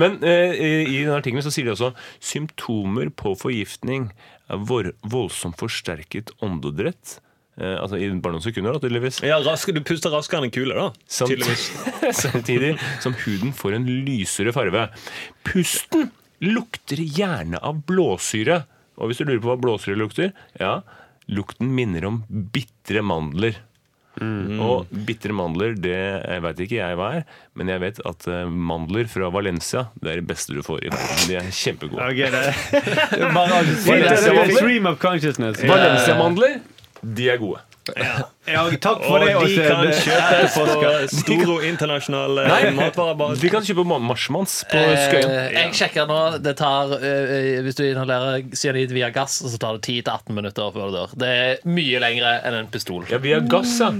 Speaker 3: Men eh, i den artikkelen så sier de også symptomer på forgiftning er vor- voldsomt forsterket åndedrett. Eh, altså i bare noen sekunder, da, tydeligvis.
Speaker 6: Ja, raske, du puster raskere enn en kule, da.
Speaker 3: Samt-
Speaker 6: Tydeligvis.
Speaker 3: Samtidig som huden får en lysere farve. Pusten lukter gjerne av blåsyre. Og hvis du lurer på hva blåsyre lukter, ja, lukten minner om bitre mandler. Og bitre mandler, det veit ikke jeg hva er, men jeg vet at eh, mandler fra Valencia det er det beste du får i verden. De er kjempegode.
Speaker 2: Ok, det det er bare å si det. Det er stream of consciousness.
Speaker 3: Valencia-mandler, de er gode.
Speaker 2: Ja, takk for
Speaker 6: Og
Speaker 2: det.
Speaker 6: de
Speaker 2: Åse.
Speaker 6: kan
Speaker 2: Det-
Speaker 6: kjøpes på Storo internasjonale matvarebar.
Speaker 3: De kan kjøpe ma- marshmans på Skøyen.
Speaker 4: Eh, jeg sjekker nå. Det tar, eh, eh, hvis du inhalerer cyanid via gass, så tar det 10-18 minutter før du dør. Det er mye lengre enn en pistol.
Speaker 3: Ja, via gass, ja.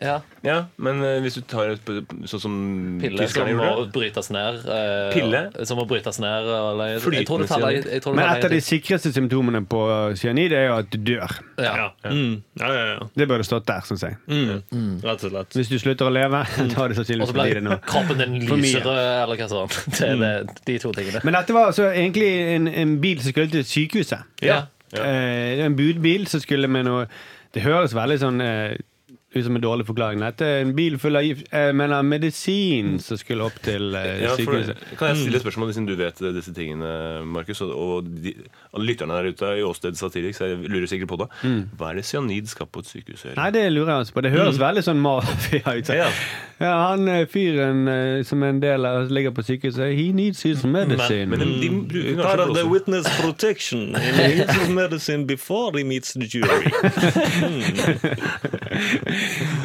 Speaker 4: Ja.
Speaker 3: ja men eh, hvis du tar et p- sånn som
Speaker 4: Pille som
Speaker 3: tyskerne
Speaker 4: må
Speaker 3: gjorde
Speaker 4: brytes ned. eh,
Speaker 3: Pille?
Speaker 4: Som må brytes ned. Eller, jeg, jeg tror
Speaker 3: Flytende
Speaker 4: det tar
Speaker 3: cyanid.
Speaker 4: jeg, jeg tror det
Speaker 2: Men
Speaker 4: tar
Speaker 2: et av de
Speaker 4: lenge tid.
Speaker 2: sikreste symptomene på cyanid er jo at du dør.
Speaker 4: ja.
Speaker 6: Ja. Mm. Ja, ja, ja.
Speaker 2: Det burde stått der, syns jeg.
Speaker 3: Mm.
Speaker 6: Rett og slett.
Speaker 2: Hvis du slutter å leve, da er det
Speaker 4: Og
Speaker 2: sannsynligvis
Speaker 4: så
Speaker 2: fordi det nå.
Speaker 4: blir kroppen din
Speaker 2: For mye.
Speaker 4: lyserød, eller hva sånn. Det er det, de to tingene.
Speaker 2: Men dette var altså egentlig en, en bil som skulle til sykehuset.
Speaker 4: Ja.
Speaker 2: Eh, det er en budbil som skulle med noe Det høres veldig sånn eh, ut som en dårlig forklaring. Dette er en bil full av gift, eh, men av medisin som skulle opp til eh,
Speaker 3: Ja, for,
Speaker 2: sykehuset.
Speaker 3: kan jeg stille et spørsmål siden du vet disse tingene, Markus? Og, og, de, og lytterne der ute i Åsted Satiriks jeg lurer sikkert på det. Hva er det cyanid skal på et sykehus gjøre?
Speaker 2: Nei, det lurer jeg altså på. Det høres veldig sånn mafia ut.
Speaker 3: Ja.
Speaker 2: Ja. han eh, fyren eh, som er en del av ligger på sykehuset, he needs his medicine.
Speaker 3: Men de, de bruker
Speaker 6: Part
Speaker 3: kanskje
Speaker 6: of the
Speaker 3: blåser.
Speaker 6: witness protection in the use of medicine before he meets the jury.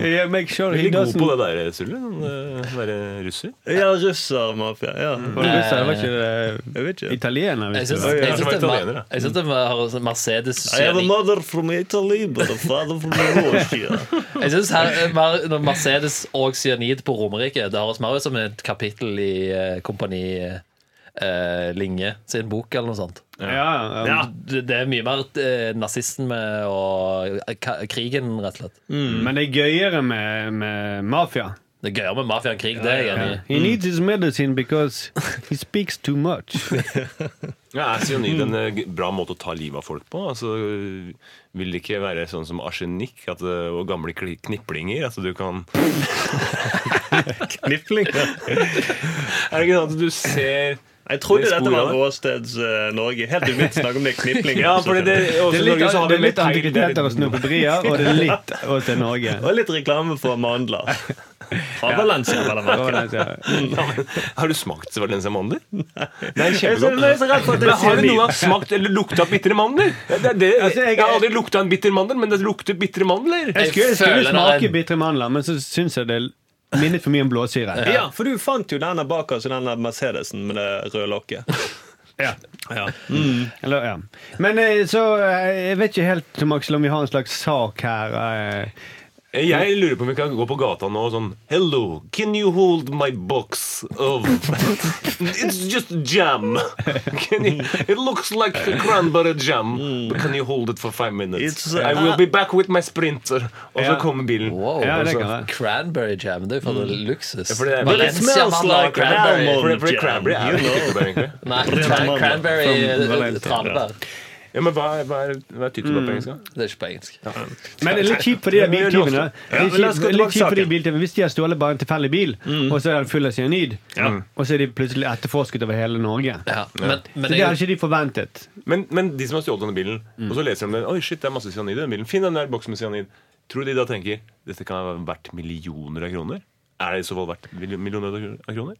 Speaker 2: Yeah, make sure he
Speaker 3: Veldig god
Speaker 2: doesn't
Speaker 3: på det der, Sulle. Å være russer.
Speaker 6: Ja, russermafia. Ja.
Speaker 2: Var
Speaker 3: Mm.
Speaker 2: det russer? Var ikke
Speaker 6: Jeg vet
Speaker 2: det
Speaker 6: ikke.
Speaker 2: italiener?
Speaker 4: Jeg
Speaker 2: hvis
Speaker 4: syns
Speaker 2: det var?
Speaker 4: jeg
Speaker 3: kanskje
Speaker 4: syns det,
Speaker 3: det var
Speaker 4: er
Speaker 3: italiener,
Speaker 4: mer-
Speaker 3: da.
Speaker 4: jeg syns det er mer Mercedes
Speaker 6: I have a
Speaker 4: cyanid.
Speaker 6: mother from Italy, but a father from Russia.
Speaker 4: Jeg synes her er mer, når Mercedes og cyanid på Romerike Det høres mer ut som et kapittel i eh, Kompani eh, Linge sin bok, eller noe sånt.
Speaker 2: Ja, ja. um,
Speaker 6: Ja.
Speaker 4: Det, det er mye mer eh, nazisme og eh, ka- krigen, rett og slett.
Speaker 2: Men det er gøyere med, med mafia.
Speaker 4: Det er gøyere med mafia enn krig, det er jeg enig i.
Speaker 2: He needs his medicine because he speaks too much.
Speaker 3: Ja, er cyanid en eh, g- bra måte å ta livet av folk på? Altså, øh, vil det ikke være sånn som arsenikk at, øh, og gamle kli- kniplinger? At du kan
Speaker 6: Knifling.
Speaker 3: Er det ikke sånn at du ser
Speaker 6: Jeg trodde
Speaker 3: Det er
Speaker 6: dette var
Speaker 3: sporet.
Speaker 6: Råsteds eh, Norge. Helt uvitt snakk om det kniplingen.
Speaker 3: Ja, fordi det,
Speaker 2: Det
Speaker 3: også
Speaker 2: er
Speaker 3: i
Speaker 2: litt,
Speaker 3: Norge så har
Speaker 2: det
Speaker 3: vi
Speaker 2: er litt
Speaker 3: feil- det er litt- altså.
Speaker 2: antikviteter og snopebrier, og det er litt å til Norge.
Speaker 6: Og litt reklame for mandler. Fra Valencia, vel å
Speaker 2: Å,
Speaker 6: merke.
Speaker 2: nei, så-
Speaker 3: Ja, men Har du smakt valensiamandler? Det er
Speaker 6: Jeg synes det er så rett for at det
Speaker 3: Men
Speaker 6: er
Speaker 3: har du noen
Speaker 6: cyanid.
Speaker 3: gang smakt eller lukta bitre mandler? Det, er det,
Speaker 2: Altså, jeg-
Speaker 3: jeg har aldri lukta en bitter mandel, men det lukter bitre mandler.
Speaker 2: Jeg skulle, jeg
Speaker 4: føler
Speaker 2: skulle
Speaker 4: det er
Speaker 2: smake
Speaker 4: en-
Speaker 2: bitre mandler, men så syns jeg det minnet for mye om blåsyre.
Speaker 6: Ja, for du fant jo denne bak oss, denne Mercedesen med det røde lokket.
Speaker 2: Ja. Mm.
Speaker 6: Ja.
Speaker 2: Eller, ja. Men eh, så eh, Jeg vet ikke helt Tom Aksel, om vi har en slags sak her. eh.
Speaker 3: Jeg lurer på om vi kan gå på gata nå og sånn Hello, can you hold my box of It's just jam. Can you, it looks like a cranberry jam, but can you hold it for five minutes?
Speaker 6: It's, uh,
Speaker 3: I will be back with my sprinter. Og så
Speaker 2: Ja.
Speaker 3: kommer bilen.
Speaker 4: Wow,
Speaker 2: Ja, det
Speaker 4: altså,
Speaker 2: kan være.
Speaker 4: Cranberry jam, det er jo for luksus.
Speaker 3: for det er-
Speaker 6: But it smells like
Speaker 4: cranberry.
Speaker 6: almond.
Speaker 3: For, for cranberry er jo
Speaker 6: You
Speaker 3: ikke
Speaker 6: know.
Speaker 3: tyttebær, egentlig.
Speaker 4: Nei,
Speaker 6: Brennmann.
Speaker 4: cranberry eh,
Speaker 2: From Valencia.
Speaker 4: tranebær.
Speaker 3: Ja, men hva er, hva er, hva er tyttebær
Speaker 6: Mm.
Speaker 3: på engelsk? da?
Speaker 4: Det er ikke på engelsk.
Speaker 2: Men det er litt kjipt for de der
Speaker 3: Det er mye
Speaker 2: biltyvene.
Speaker 3: lovstoff.
Speaker 2: Det er
Speaker 6: Ja, men la oss gå
Speaker 2: kjipt- litt
Speaker 6: tilbake til
Speaker 2: kjipt for de
Speaker 6: saken. Mm.
Speaker 2: biltyvene Hvis de har stjålet bare en tilfeldig bil, og så er den full av cyanid,
Speaker 6: Ja.
Speaker 2: og så er de plutselig etterforsket over hele Norge
Speaker 4: Ja, men, men
Speaker 2: Så Det
Speaker 4: jeg-
Speaker 2: hadde ikke de forventet.
Speaker 3: Men, men de som har stjålet denne bilen,
Speaker 4: Mm.
Speaker 3: og så leser de den Oi, shit, det er masse cyanid i den bilen. Finn den der boksen med cyanid. Tror de da tenker dette kan være verdt millioner av kroner? Er det i så fall verdt mil- millioner av kroner?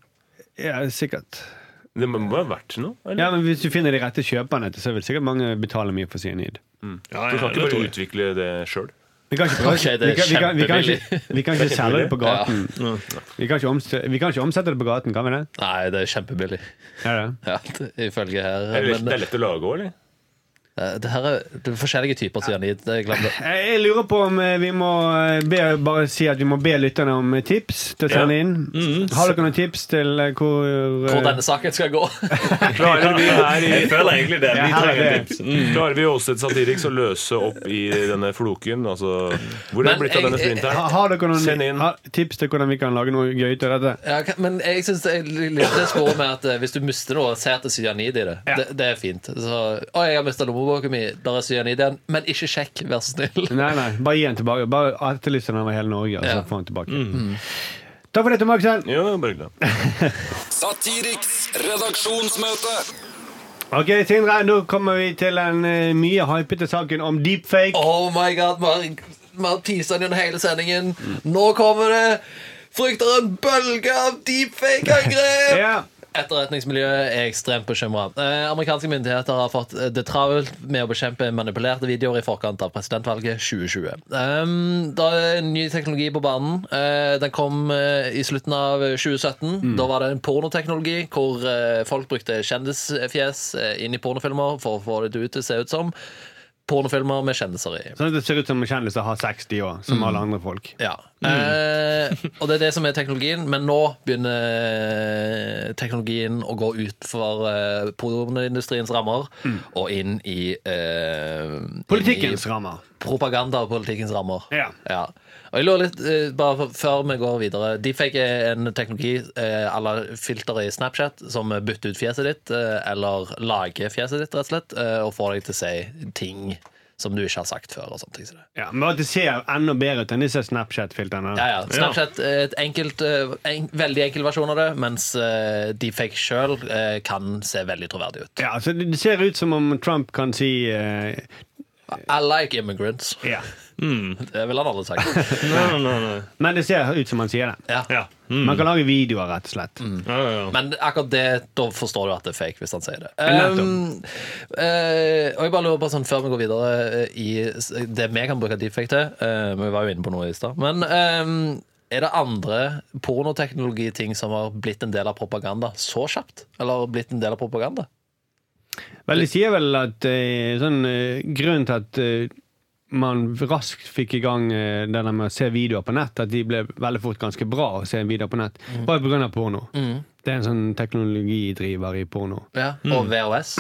Speaker 2: Ja, sikkert.
Speaker 3: Det må være verdt noe?
Speaker 2: Ja,
Speaker 3: Eller?
Speaker 2: men Hvis du finner de rette kjøperne, så vil sikkert mange betale mye for cyanid.
Speaker 6: Ja,
Speaker 3: Du kan
Speaker 6: ja, det
Speaker 3: ikke
Speaker 6: tror
Speaker 3: bare
Speaker 6: jeg.
Speaker 3: utvikle det sjøl.
Speaker 2: Vi kan ikke, prøve-
Speaker 4: Ok, det er
Speaker 2: vi kan, vi kan, vi kan,
Speaker 4: kjempebillig. Mm.
Speaker 2: ikke, vi kan ikke selge det på gaten. Vi kan ikke, omsette, vi kan ikke omsette det på gaten, kan vi det?
Speaker 4: Nei, det er kjempebillig.
Speaker 2: Ja, det.
Speaker 4: Ja, det- ifølge her.
Speaker 3: Det, er lett-
Speaker 4: Men
Speaker 3: det er lett å lage òg, eller?
Speaker 4: eh, det her er, det er forskjellige typer cyanid. det- Glem det.
Speaker 2: Jeg jeg lurer på om eh, vi må eh, be, bare si at vi må be lytterne om eh, tips til å
Speaker 3: Ja. Mm.
Speaker 2: sende inn. Har dere noen tips til eh, hvor eh,
Speaker 4: Hvor denne saken skal gå.
Speaker 3: Klarer vi her i
Speaker 6: Jeg føler egentlig det. Vi
Speaker 2: her er
Speaker 6: trenger
Speaker 2: det.
Speaker 6: tips.
Speaker 4: mm.
Speaker 3: Klarer vi også et satiriks å løse opp i denne floken? Altså, hvor er det
Speaker 4: Men
Speaker 3: blitt av
Speaker 4: jeg-
Speaker 3: denne
Speaker 2: Ha-
Speaker 3: sprinteren?
Speaker 2: Har dere noen
Speaker 3: Send inn.
Speaker 2: ha- tips til hvordan vi kan lage noe gøy til dette?
Speaker 4: Ja, ok, men jeg synes det er litt det sporet med at eh, hvis du mister noe, se etter cyanid i det. Det, det er fint. Så, å, jeg har mista lommeboka mi. Der er cyanid igjen. Men ikke sjekk, vær så snill.
Speaker 2: Nei, nei, bare gi den tilbake. Bare etterlys den over hele Norge, og
Speaker 4: Ja.
Speaker 2: så får den tilbake.
Speaker 3: Mm.
Speaker 2: Mm. Takk for det, Tom Aksel.
Speaker 3: Ja, bare glem.
Speaker 5: Satiriks redaksjonsmøte.
Speaker 2: Ok, Sindre, nå kommer vi til den eh, mye hypete saken om deepfake.
Speaker 4: Oh my god, Mark. Vi har teasa den gjennom hele sendingen. Nå kommer det! Frykter en bølge av deepfake-angrep!
Speaker 2: Ja.
Speaker 4: Etterretningsmiljøet er ekstremt bekymra. Eh, amerikanske myndigheter har fått eh, det travelt med å bekjempe manipulerte videoer i forkant av presidentvalget 2020. Um, da er ny teknologi på banen. Eh, den kom eh, i slutten av 2017. Da var det en pornoteknologi hvor eh, folk brukte kjendisfjes eh, inn i pornofilmer for å få det ut til å se ut som pornofilmer med kjendiser i.
Speaker 2: Sånn at det ser ut som kjendiser har 60 år, som
Speaker 3: Mm.
Speaker 2: alle andre folk.
Speaker 4: Ja. Eh, og det er det som er teknologien, men nå begynner teknologien å gå ut for eh, pornoindustriens rammer og inn i eh,
Speaker 2: Politikkens
Speaker 4: inn i
Speaker 2: rammer.
Speaker 4: Propaganda og politikkens rammer.
Speaker 2: Ja.
Speaker 4: Og jeg lurer litt, eh, bare for, før vi går videre Deepfake er en teknologi eh, à la filteret i Snapchat som bytter ut fjeset ditt, eh, eller lager fjeset ditt, rett og slett, eh, og får deg til å si ting som du ikke har sagt før. og sånne ting som det.
Speaker 2: Ja, men at det ser enda bedre ut enn disse Snapchat-filterne.
Speaker 4: Ja, ja. Snapchat er et enkelt, eh, en, veldig enkel versjon av det, mens eh, deepfake sjøl eh, kan se veldig troverdig ut.
Speaker 2: Ja, så det det ser ut som om Trump kan si eh,
Speaker 4: I like immigrants.
Speaker 2: ja.
Speaker 4: Det ville han aldri sagt.
Speaker 6: Nei, nei, nei.
Speaker 2: Men det ser ut som han sier det.
Speaker 4: Ja.
Speaker 6: Ja. Mm.
Speaker 2: Man kan lage videoer, rett og slett.
Speaker 6: Ja, ja, ja.
Speaker 4: Men akkurat det, da forstår du at det er fake, hvis han sier det.
Speaker 2: Nettopp.
Speaker 4: Um, eh, og jeg bare lurer på sånn, Før vi går videre eh, i s- det vi kan bruke deepfake til eh, Vi var jo inne på noe i stad. Men ehm, er det andre pornoteknologiting som har blitt en del av propaganda så kjapt? Eller blitt en del av propaganda?
Speaker 2: Vel, de sier vel at eh, sånn, eh, grunnen til at eh, man raskt fikk i gang eh, det der med å se videoer på nett, at de ble veldig fort ganske bra å se en video på nett, var jo pga. porno. Det er en sånn teknologidriver i porno.
Speaker 4: Ja. Og VHS?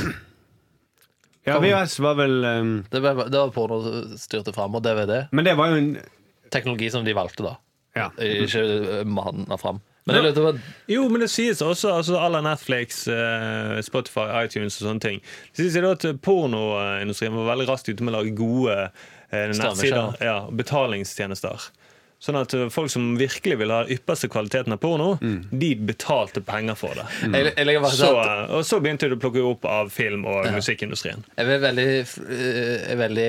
Speaker 2: Ja, VHS var vel eh,
Speaker 4: Det var, det var porno styrte fram, og DVD.
Speaker 2: Men det var jo en
Speaker 4: Teknologi som de valgte, da.
Speaker 2: Ja.
Speaker 4: Ikke eh, manna fram. Men jeg lurer på
Speaker 6: Jo, men det sies også altså à la Netflix, eh, Spotify, iTunes og sånne ting. Det sies jo da at pornoindustrien var veldig raskt ute med å lage gode eh, nettsider
Speaker 4: Strømmeskjermer.
Speaker 6: ja, og betalingstjenester. Sånn at eh, folk som virkelig ville ha den ypperste kvaliteten av porno, de betalte penger for det.
Speaker 4: jeg, jeg, legger bare
Speaker 6: Mm. Så,
Speaker 4: til at-
Speaker 6: eh, og så begynte det å plukke opp av film- og musikkindustrien.
Speaker 4: jeg er veldig, f- eh, er veldig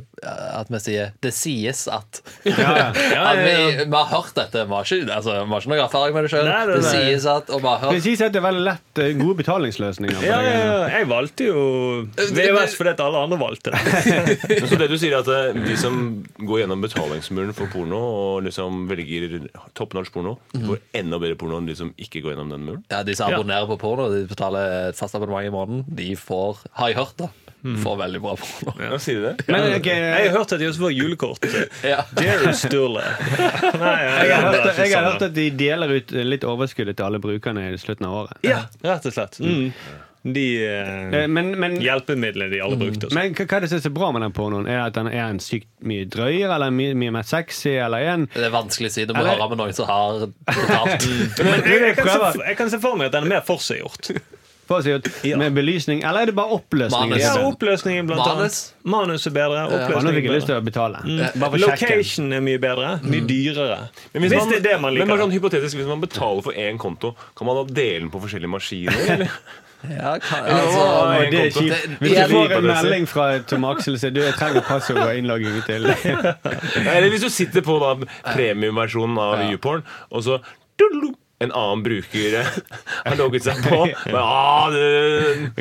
Speaker 4: eh, At vi sier Det sies at.
Speaker 6: ja, ja.
Speaker 4: At vi, vi har hørt dette. Vi har ikke, altså, vi har ikke noe erfaring med det sjøl.
Speaker 6: Nei, nei,
Speaker 4: Det
Speaker 6: nei.
Speaker 4: sies at, og vi har hørt
Speaker 2: Presis at det er veldig lett eh, gode betalingsløsninger. på
Speaker 6: Ja,
Speaker 2: det
Speaker 6: ja,
Speaker 2: greiene.
Speaker 6: ja. Jeg valgte jo VVS fordi at alle andre valgte det.
Speaker 3: Så det du sier er at eh, de som går gjennom betalingsmuren for porno og liksom velger toppnorsk porno,
Speaker 6: Mhm.
Speaker 3: får enda bedre porno enn de som ikke går gjennom den muren?
Speaker 4: ja, De som abonnerer på porno, de betaler et fast abonnement i måneden. De får, har jeg hørt, da.
Speaker 6: Mm.
Speaker 4: Får veldig bra porno.
Speaker 3: Ja, sier de det?
Speaker 2: Men ok,
Speaker 6: Jeg har hørt at de også får julekort.
Speaker 4: Ja.
Speaker 6: Jerry Sturle. Nei,
Speaker 2: Jeg har, hørt,
Speaker 6: det er ikke
Speaker 2: jeg har
Speaker 6: sånn.
Speaker 2: hørt at de deler ut eh, litt overskuddet til alle brukerne i slutten av året.
Speaker 6: Ja, rett og slett. Mm. De eh, Mm.
Speaker 2: Eh, Men, men,
Speaker 6: hjelpemidlene de alle brukte. og sånn.
Speaker 2: men hva hva er det som er så bra med den pornoen? Er at den er en sykt mye drøyere, eller mye, mye mer sexy, eller er en
Speaker 4: Det er vanskelig å si. Du må
Speaker 2: Eller-
Speaker 4: høre med noen som har betalt.
Speaker 6: Men jeg, jeg, kan
Speaker 2: prøver.
Speaker 6: se, jeg kan se for meg at den er mer forseggjort.
Speaker 2: for å si det, med belysning? Eller er det bare oppløsning?
Speaker 4: Manus.
Speaker 6: Ja,
Speaker 2: Ja,
Speaker 6: oppløsningen blant
Speaker 4: Manus.
Speaker 6: annet. Manus er bedre.
Speaker 2: nå fikk
Speaker 6: Oppløsningen
Speaker 2: jeg
Speaker 6: er
Speaker 2: lyst
Speaker 6: bedre.
Speaker 2: til å betale.
Speaker 6: Mm.
Speaker 2: Bare for sjekken.
Speaker 6: Location er mye bedre. Mye dyrere.
Speaker 3: Men hvis,
Speaker 6: Hvis det er det man
Speaker 3: men bare
Speaker 6: liker.
Speaker 3: sånn hypotetisk, hvis man betaler for én konto, kan man da dele den på forskjellige maskiner? Eller?
Speaker 4: Ja, kan,
Speaker 2: Å,
Speaker 4: altså,
Speaker 2: det er
Speaker 3: konto.
Speaker 2: kjipt.
Speaker 4: Det-
Speaker 2: Hvis
Speaker 4: det-
Speaker 2: du får en
Speaker 3: det-
Speaker 2: melding fra Tom Aksel som sier du jeg trenger passord og innlogging til
Speaker 3: Eller hvis du sitter på da premiumversjonen av YouPorn, og så tudelu, en annen bruker eh, har logget seg på men, ah, det,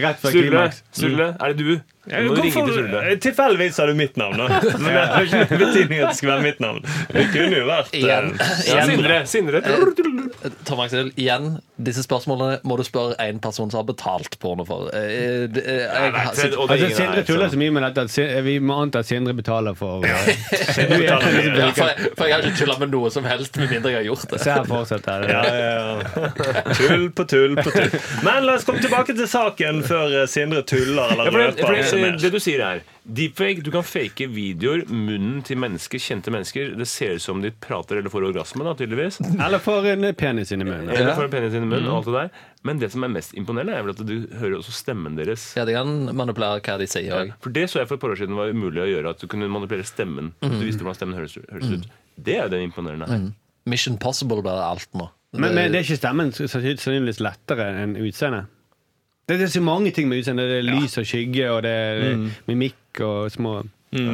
Speaker 2: Rett før
Speaker 3: Sturle,
Speaker 2: klimaks.
Speaker 3: Sturle, er det du?
Speaker 6: Mm. Ja, Eh,
Speaker 3: Du må ringe til
Speaker 6: hvorfor-
Speaker 3: Sturle.
Speaker 6: Tilfeldigvis har du mitt navn, da. Men det har ikke noen betydning at det skal være mitt navn. Det kunne jo vært eh,
Speaker 4: Igjen.
Speaker 3: Ja,
Speaker 4: Igjen.
Speaker 3: Sindre. Sindre. Tudelu, tudelu.
Speaker 4: Tom Aksel, igjen, disse spørsmålene må du spørre en person som har betalt porno for. Eh, eh, det- eh, Jeg,
Speaker 3: Nei,
Speaker 4: har-
Speaker 3: det- og det er
Speaker 2: Altså,
Speaker 3: ingen
Speaker 2: Sindre
Speaker 3: her,
Speaker 2: tuller
Speaker 3: så-
Speaker 2: så mye med dette at Sin- vi må anta at Sindre betaler for
Speaker 6: betaler
Speaker 4: ja, for, jeg, for jeg har ikke tulla med noe som helst, med mindre jeg har gjort det.
Speaker 2: Se her fortsetter det.
Speaker 6: Ja, ja, ja. Tull på tull på tull. Men la oss komme tilbake til saken før eh, Sindre tuller eller
Speaker 3: Ja, for det,
Speaker 6: røper.
Speaker 3: for
Speaker 6: masse
Speaker 3: det,
Speaker 6: mer.
Speaker 3: det du sier er Deepfake, du kan fake videoer Munnen til mennesker, kjente mennesker Det ser ut som de prater eller får orgasme da, tydeligvis
Speaker 2: Eller får en penis inn i munnen.
Speaker 3: Eller får penis inn i munnen og alt det der Men det som er mest imponerende er vel at du hører også stemmen deres
Speaker 4: Ja, De kan manipulere hva de sier òg.
Speaker 3: For det så jeg for et par år siden var umulig å gjøre At du kunne manipulere stemmen At Du visste hvordan stemmen høres, høres ut Det er jo det imponerende her
Speaker 4: Mission Possible blir alt nå.
Speaker 2: Men, men det er ikke stemmen så- så- sannsynligvis lettere enn utseendet?
Speaker 6: Mm.
Speaker 2: Det, det er så mange ting med utseendet. Det er lys og skygge, og det er mimikk og små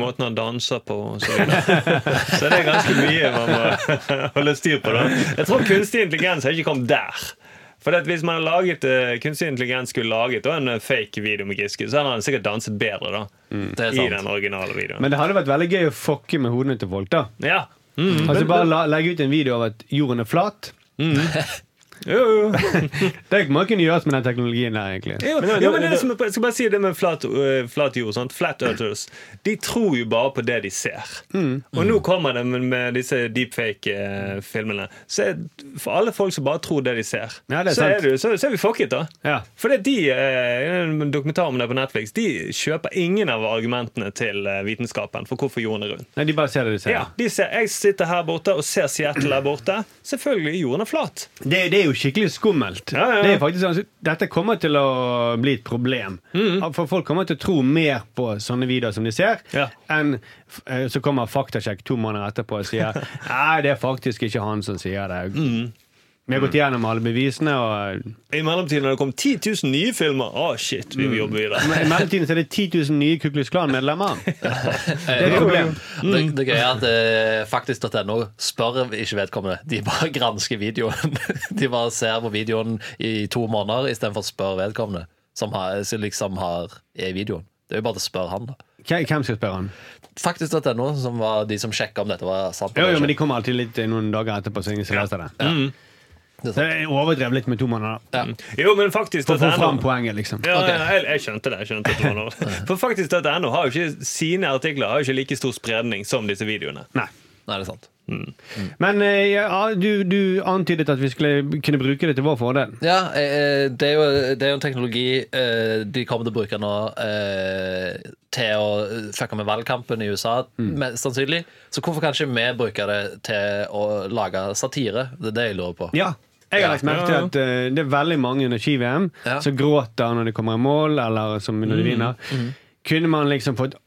Speaker 6: Måten han danser på og så videre. Så det er ganske mye man må holde styr på. da Jeg tror kunstig intelligens har ikke kommet der. For at hvis man har laget eh, kunstig intelligens skulle laget da, en eh, fake video med Giske, så hadde han sikkert danset bedre da
Speaker 4: Mm. Det er
Speaker 6: i
Speaker 4: sant.
Speaker 6: den originale videoen.
Speaker 2: Men det hadde vært veldig gøy å fucke med hodene til folk, da.
Speaker 6: ja. Mm.
Speaker 2: Altså Bare la, legge ut en video av at jorden er flat.
Speaker 6: Jo, jo.
Speaker 2: Det må kunne gjøres med den teknologien der, egentlig.
Speaker 6: Jo,
Speaker 3: Men det-
Speaker 6: jo, men det er
Speaker 3: det-
Speaker 6: som, jeg skal bare si det med flat, øh, flat jord. Sant? Flat earthers. De tror jo bare på det de ser. Og nå kommer det med, med disse deepfake-filmene. Så er, For alle folk som bare tror det de ser,
Speaker 2: Ja, det er
Speaker 6: så, er
Speaker 2: sant.
Speaker 6: du, så, så er vi fucket, da.
Speaker 2: Ja.
Speaker 6: For det er de, eh, en dokumentar om det på Netflix, de kjøper ingen av argumentene til eh, vitenskapen for hvorfor jorden er rundt.
Speaker 2: Nei, de bare ser det de ser.
Speaker 6: Ja, de ser, Jeg sitter her borte og ser Seattle der borte. Selvfølgelig, jorden er flat.
Speaker 2: Det, det er jo skikkelig skummelt.
Speaker 6: Ja, ja, ja.
Speaker 2: Det er faktisk, sånn- dette kommer til å bli et problem.
Speaker 6: Mm.
Speaker 2: For folk kommer til å tro mer på sånne videoer som de ser,
Speaker 6: Ja.
Speaker 2: enn eh, så kommer faktasjekk to måneder etterpå og sier Nei, det er faktisk ikke han som sier det.
Speaker 6: Mm.
Speaker 2: Vi har gått gjennom alle bevisene, og
Speaker 6: I mellomtiden har det kommet 10 000 nye filmer. Å, shit, vi må jobbe videre.
Speaker 2: Men I mellomtiden så er det 10 000 nye Ku Klux Klan-medlemmer. Det er et problem.
Speaker 4: Det, det gøye er at eh, faktisk.no spør ikke vedkommende. De bare gransker videoen. De bare ser på videoen i to måneder istedenfor å spørre vedkommende, som, har, som liksom har, er i videoen. Det er jo bare å spørre han, da.
Speaker 2: Hvem hvem skal spørre han?
Speaker 4: Faktisk.no, som var de som sjekka om dette var sant.
Speaker 2: Jo,
Speaker 4: eller
Speaker 2: jo, men De
Speaker 4: ikke.
Speaker 2: kommer alltid litt eh, noen dager etterpå. Så ingen ser etter det.
Speaker 6: Mm.
Speaker 4: Det er sant.
Speaker 2: Så jeg overdrev litt med to måneder. da.
Speaker 4: Ja.
Speaker 6: Jo, men faktisk
Speaker 2: For å få
Speaker 6: dette er
Speaker 2: fram
Speaker 6: noe-
Speaker 2: poenget, liksom.
Speaker 6: Ja,
Speaker 4: Ok.
Speaker 6: ja, jeg, jeg skjønte det. jeg skjønte at det var noe. For faktisk dette NO har jo ikke sine artikler har jo ikke like stor spredning som disse videoene.
Speaker 2: Nei.
Speaker 4: Nei, det er sant.
Speaker 2: Men eh, ja, du, du antydet at vi skulle kunne bruke det til vår fordel.
Speaker 4: Ja, eh, det er jo, det er jo en teknologi eh, de kommer til å bruke nå eh, til å eh, fucke med valgkampen i USA,
Speaker 2: Mm.
Speaker 4: mest sannsynlig. Så hvorfor kan ikke vi bruke det til å lage satire? Det er det jeg lurer på.
Speaker 2: Ja. Jeg har lagt merke til
Speaker 6: Ja, ja.
Speaker 2: at eh, det er veldig mange under ski-VM
Speaker 4: Ja.
Speaker 2: som gråter når de kommer i mål, eller som når de vinner. Kunne man liksom fått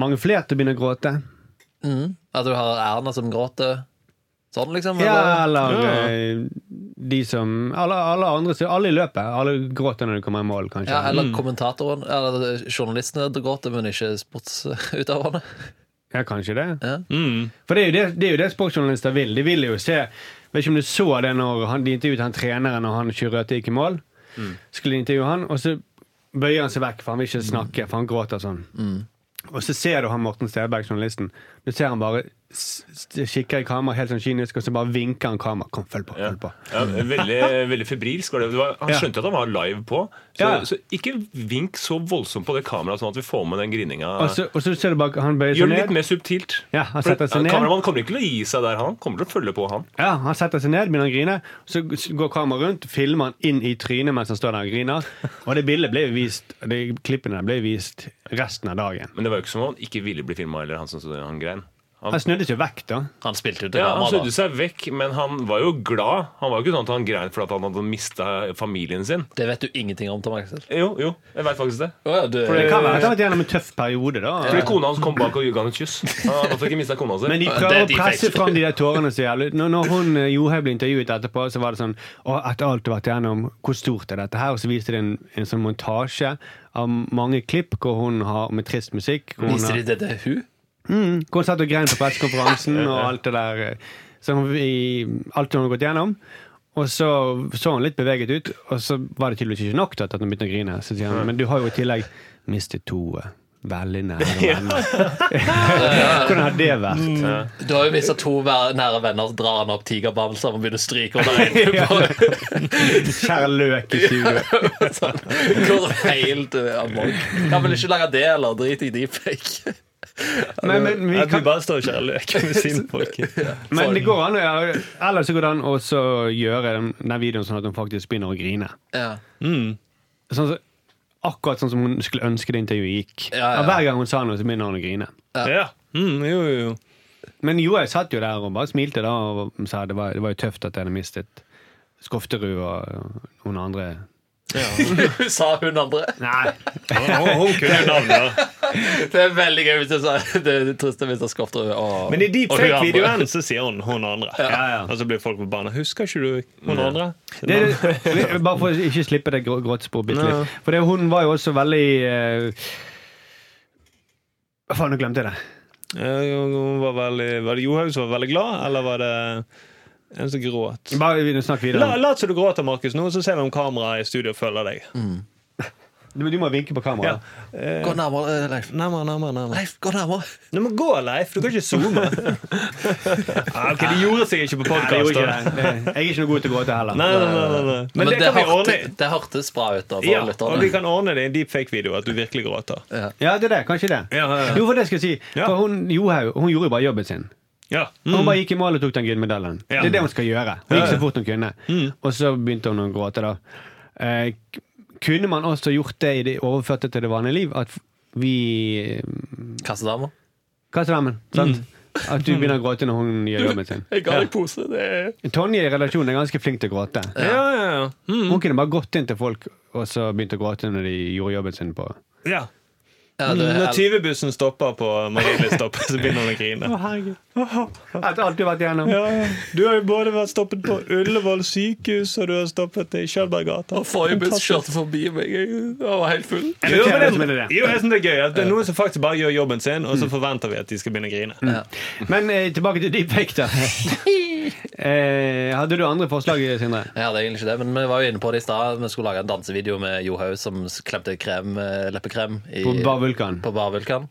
Speaker 2: mange flere til å begynne å gråte?
Speaker 4: At du har Erna som gråter sånn, liksom?
Speaker 2: Ja,
Speaker 4: eller?
Speaker 2: eller
Speaker 6: Ja.
Speaker 2: eh, de som Alle, alle andre så Alle i løpet. Alle gråter når de kommer i mål, kanskje.
Speaker 4: Ja, eller kommentatoren. Eller journalistene gråter, men ikke sportsutøverne.
Speaker 2: Ja, kanskje det.
Speaker 4: Ja.
Speaker 3: Mm.
Speaker 2: For det er, jo det, det er jo det sportsjournalister vil. De vil jo se Vet ikke om du så det når han, de intervjuet han treneren og han Sjurøte gikk i mål.
Speaker 3: Mm.
Speaker 2: Skulle de intervjue han, og så bøyer han seg vekk, for han vil ikke snakke, for han gråter sånn. Og så ser du han Morten Sterberg, journalisten. Du ser han bare s- s- kikker i kamera, helt sånn kynisk, og så bare vinker han kamera. Kom, følg på,
Speaker 3: Ja.
Speaker 2: følg på.
Speaker 3: Ja, veldig, veldig febrilsk. var det. Det var, han
Speaker 2: Ja.
Speaker 3: skjønte at han var live på. Så,
Speaker 2: Ja.
Speaker 3: så ikke vink så voldsomt på det kameraet, sånn at vi får med den grininga.
Speaker 2: Og så, og så ser du bare han bøyer
Speaker 3: Gjør
Speaker 2: seg
Speaker 3: det
Speaker 2: ned.
Speaker 3: litt mer subtilt.
Speaker 2: Ja, han
Speaker 3: For
Speaker 2: setter seg ned.
Speaker 3: Kameramannen kommer ikke til å gi seg der, han kommer til å følge på, han.
Speaker 2: Ja, Han setter seg ned, begynner å grine. Så g- går kameraet rundt, filmer han inn i trynet mens han står der og griner. Og det bildet ble jo vist, de klippene ble jo vist resten av dagen.
Speaker 3: Men det var jo ikke som om han ikke ville bli filma heller, han som stod- han grein.
Speaker 2: Han snudde seg vekk, da.
Speaker 4: Han spilte jo til
Speaker 3: Ja, Han
Speaker 4: kamera,
Speaker 3: snudde
Speaker 4: da.
Speaker 3: seg vekk, men han var jo glad. Han var jo ikke sånn at han grein fordi han hadde mista familien sin.
Speaker 4: Det vet du ingenting om, Tom Axel.
Speaker 3: Jo, jo, jeg veit faktisk det.
Speaker 2: Det kan være at han har vært gjennom en tøff periode, da.
Speaker 3: Fordi kona hans kom bak og ga han et kyss. Han hadde ikke mistet kona si.
Speaker 2: Men de
Speaker 4: Det
Speaker 2: prøver
Speaker 4: er
Speaker 2: å
Speaker 4: de
Speaker 2: presse
Speaker 4: fake.
Speaker 2: fram de der tårene så jævlig. Når, når hun eh, Johaug ble intervjuet etterpå, så var det sånn Å, etter alt du har vært igjennom, hvor stort er dette her? Og så viste de en, en sånn montasje av mange klipp hvor hun har med trist musikk. Hvor hun har,
Speaker 4: Viser de det til hun?
Speaker 2: Hvor hun satt og grein på pressekonferansen og alt det der eh, som hun- i, Alt hun har gått gjennom. Og så så hun litt beveget ut, og så var det tydeligvis ikke nok til at hun begynte å grine. Så sier han, men du har jo i tillegg mistet to eh, veldig nære venner. Hvordan har det vært?
Speaker 4: Du har jo mista to vær- nære venner, drar han opp tigerbamser og begynner å stryke under øynene.
Speaker 2: Kjære løk i studio.
Speaker 4: på- sånn. Går helt eh, amok. Han vil ikke lage det, eller drit i deepfake.
Speaker 2: Men, men, vi
Speaker 6: At vi
Speaker 2: kan,
Speaker 6: bare står og skjærer løk med sine folk.
Speaker 2: men det går an å gjøre Ellers så går det an å også gjøre den, den videoen sånn at hun faktisk begynner å grine.
Speaker 4: Ja.
Speaker 2: Sånn, som- akkurat sånn som hun skulle ønske det intervjuet gikk.
Speaker 4: Ja, ja.
Speaker 2: Og Hver gang hun sa noe, så begynner hun å grine.
Speaker 6: Ja. Mm, jo, jo, jo.
Speaker 2: Men jo, jeg satt jo der og bare smilte da og sa det var, det var jo tøft at jeg hadde mistet Skofterud og noen andre.
Speaker 4: Sa hun andre.
Speaker 2: Nei.
Speaker 6: Hun, hun kunne jo navnet. da.
Speaker 4: Det er veldig gøy hvis du sa det er trist å miste Skofterud. og-
Speaker 6: Men i
Speaker 4: og hun andre.
Speaker 6: deepfake-videoen så sier hun 'hun andre'.
Speaker 2: Ja, ja.
Speaker 6: Og så blir folk på banen. 'Husker ikke du hun andre?'
Speaker 2: Det, det- bare for å ikke slippe det grå- gråtsporet bitte litt. For det, hun var jo også veldig eh, Faen, nå glemte jeg det.
Speaker 6: Eh, hun Var, veldig, var det Johaug som var veldig glad, eller var det en som gråt?
Speaker 2: Bare vi- snakk videre.
Speaker 6: La, lat som du gråter, Markus, nå, så ser vi om kameraet i studio følger deg.
Speaker 2: Mm. Du, du må vinke på kamera.
Speaker 6: Ja.
Speaker 4: Gå nærmere, eh, Leif.
Speaker 6: Nærmere, nærmere, nærmere.
Speaker 4: Leif, gå nærmere.
Speaker 6: Du må gå, Leif. Du kan ikke zoome. ah, ok, Det gjorde seg ikke på
Speaker 2: Nei, det gjorde ikke
Speaker 6: podkast.
Speaker 2: det. Det- Jeg er ikke noe god til å gråte heller.
Speaker 6: Nei, nei, nei, nei. Men,
Speaker 4: Men
Speaker 6: det, kan vi
Speaker 4: hørte-
Speaker 6: ordne.
Speaker 4: det hørtes bra ut. da, for
Speaker 6: Ja, og vi
Speaker 4: lytterne.
Speaker 6: kan ordne det i en deepfake-video at du virkelig gråter.
Speaker 4: Ja.
Speaker 2: Ja, det er det. Kanskje det.
Speaker 6: Ja, ja, ja.
Speaker 2: Jo, for det skal jeg si.
Speaker 6: Ja.
Speaker 2: For hun, Johaug hun gjorde jo bare jobben sin.
Speaker 6: Ja.
Speaker 2: Hun bare gikk i mål og tok den gullmedaljen.
Speaker 6: Ja. Mm.
Speaker 2: Det er det hun skal gjøre. Hun gikk så fort hun kunne. Og så begynte hun å gråte, da. Eh, k- kunne man også gjort det i det overførte til det vanlige liv? At vi eh,
Speaker 4: Kassedamer.
Speaker 2: Hva sa damen? Sant?
Speaker 6: Mm.
Speaker 2: At du begynner å gråte når hun gjør jobben sin.
Speaker 6: Jeg ga deg pose. Det er
Speaker 2: Tonje i relasjonen er ganske flink til å gråte.
Speaker 6: Ja, ja, ja. Mm.
Speaker 2: Hun kunne bare gått inn til folk og så begynt å gråte når de gjorde jobben sin på
Speaker 6: ja.
Speaker 4: Ja, det,
Speaker 6: Når tyvebussen stopper på Marienlyst, stopp, så begynner hun å grine.
Speaker 2: Etter alt du har vært igjennom.
Speaker 6: Du har jo både vært stoppet på Ullevål sykehus, og du har stoppet i Kjølberggata.
Speaker 4: Forrige buss kjørte forbi meg. Jeg var helt full.
Speaker 6: Jo, men
Speaker 2: Det er det som er
Speaker 6: det,
Speaker 2: det.
Speaker 6: jo, jeg synes det er gøy at det er noen som faktisk bare gjør jobben sin, og så forventer vi at de skal begynne å grine.
Speaker 2: Men eh, tilbake til deepfake, da. eh, hadde du andre forslag, Sindre?
Speaker 4: Jeg hadde egentlig ikke det, men vi var jo inne på det i stad. Vi skulle lage en dansevideo med Johaug som s- klemte krem, eh, leppekrem i,
Speaker 2: På Bar Vulkan. Mm.
Speaker 4: på Bar Vulkan.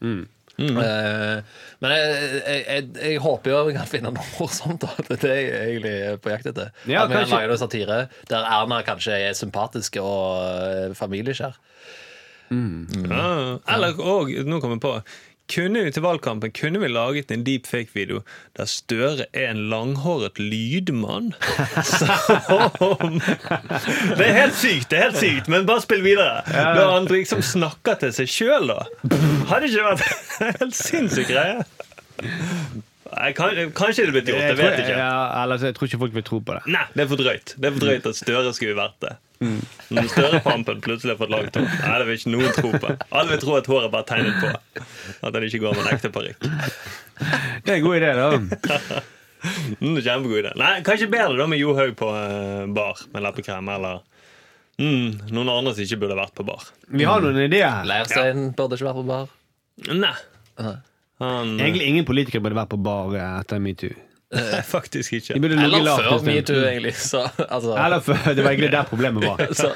Speaker 4: Eh, men jeg, jeg, jeg, jeg håper jo vi kan finne noe morsomt. da. Det er det jeg egentlig er på jakt etter.
Speaker 2: Ja,
Speaker 4: At vi kan
Speaker 2: kanskje.
Speaker 4: lage noe satire der Erna kanskje er sympatisk og eh, familieskjær.
Speaker 6: Mm. Ja. Eller og, nå kom jeg på kunne vi til valgkampen kunne vi laget en deepfake-video der Støre er en langhåret lydmann? Som Det er helt sykt, det er helt sykt, men bare spill videre. Når han liksom snakker til seg sjøl, da. Hadde ikke vært en helt sinnssyk greie? Nei, kan, kanskje det er blitt gjort. Jeg vet ikke.
Speaker 2: Ja, ellers, jeg tror ikke folk vil tro på det.
Speaker 6: Nei, det er for drøyt. Det er for drøyt at Støre skulle vært det. Når Støre-pampen plutselig har fått langt hår. Nei, det vil ikke noen tro på. Alle vil tro at håret bare er tegnet på. At han ikke går med en ekte parykk.
Speaker 2: Det er en god idé, da.
Speaker 6: Mm, kjempegod idé. Nei, kanskje bedre da med Johaug på eh, bar med leppekrem, eller mm, noen andre som ikke burde vært på bar.
Speaker 2: Vi har noen ideer her.
Speaker 4: Leirstein burde ikke vært på bar.
Speaker 6: Nei. Han eh,
Speaker 2: Egentlig ingen politikere burde vært på bar eh, etter metoo.
Speaker 6: faktisk
Speaker 2: De
Speaker 6: ikke.
Speaker 2: burde ligget
Speaker 4: Eller
Speaker 2: lavt en
Speaker 4: før
Speaker 2: stund.
Speaker 4: metoo, egentlig. Så, altså,
Speaker 2: Eller før. Det var egentlig der problemet var.
Speaker 4: så,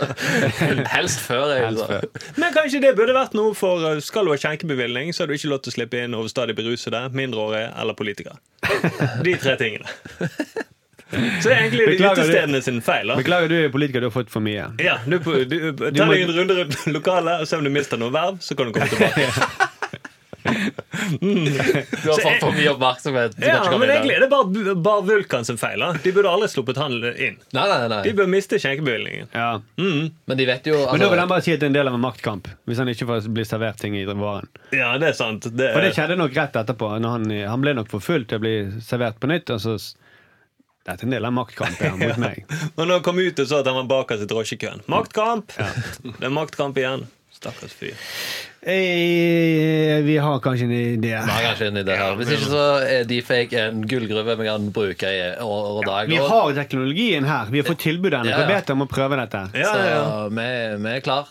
Speaker 4: helst før, jeg.
Speaker 2: Helst før.
Speaker 6: Men kanskje det burde vært noe for eh, skal du ha skjenkebevilgning, så har du ikke lov til å slippe inn overstadig berusede, mindreårige eller politikere. De tre tingene. Så det er egentlig de
Speaker 2: Beklager,
Speaker 6: utestedene sin feil. da.
Speaker 2: Beklager, du er politiker, du har fått for mye.
Speaker 6: Ja, du, på- du, ta
Speaker 2: må-
Speaker 6: deg en runde rundt lokalet, og se om du mister noe verv, så kan du komme tilbake.
Speaker 4: Du har fått for mye oppmerksomhet. Du kan
Speaker 6: Ja,
Speaker 4: ikke komme inn
Speaker 6: men
Speaker 4: der.
Speaker 6: egentlig er det bare, bare Vulkan sin feil. da. De burde aldri sluppet han inn.
Speaker 4: Nei, nei, nei.
Speaker 6: De bør miste skjenkebevilgningen.
Speaker 2: Ja.
Speaker 4: Men de vet jo
Speaker 2: Men da vil
Speaker 4: altså,
Speaker 2: han bare si at det er en del av en maktkamp, hvis han ikke får bli servert ting i varen.
Speaker 6: Ja, det er sant. Det,
Speaker 2: For det skjedde nok rett etterpå. Når han, han ble nok for full til å bli servert på nytt. Og så s- Dette er en del av maktkampen mot meg.
Speaker 6: og når han kom ut, så at han var bakerst i drosjekøen. Maktkamp! Det er maktkamp igjen. Stakkars fyr.
Speaker 2: Eh, vi har kanskje en idé.
Speaker 4: vi har kanskje en idé her. Hvis ikke så er deepfake en gullgruve vi kan bruke i år og dag.
Speaker 2: Vi
Speaker 4: og-
Speaker 2: har teknologien her. Vi har fått tilbud av
Speaker 4: Ja, ja.
Speaker 2: NKBT om å prøve dette.
Speaker 6: Ja,
Speaker 4: så
Speaker 6: ja, ja.
Speaker 4: Vi, vi er klar.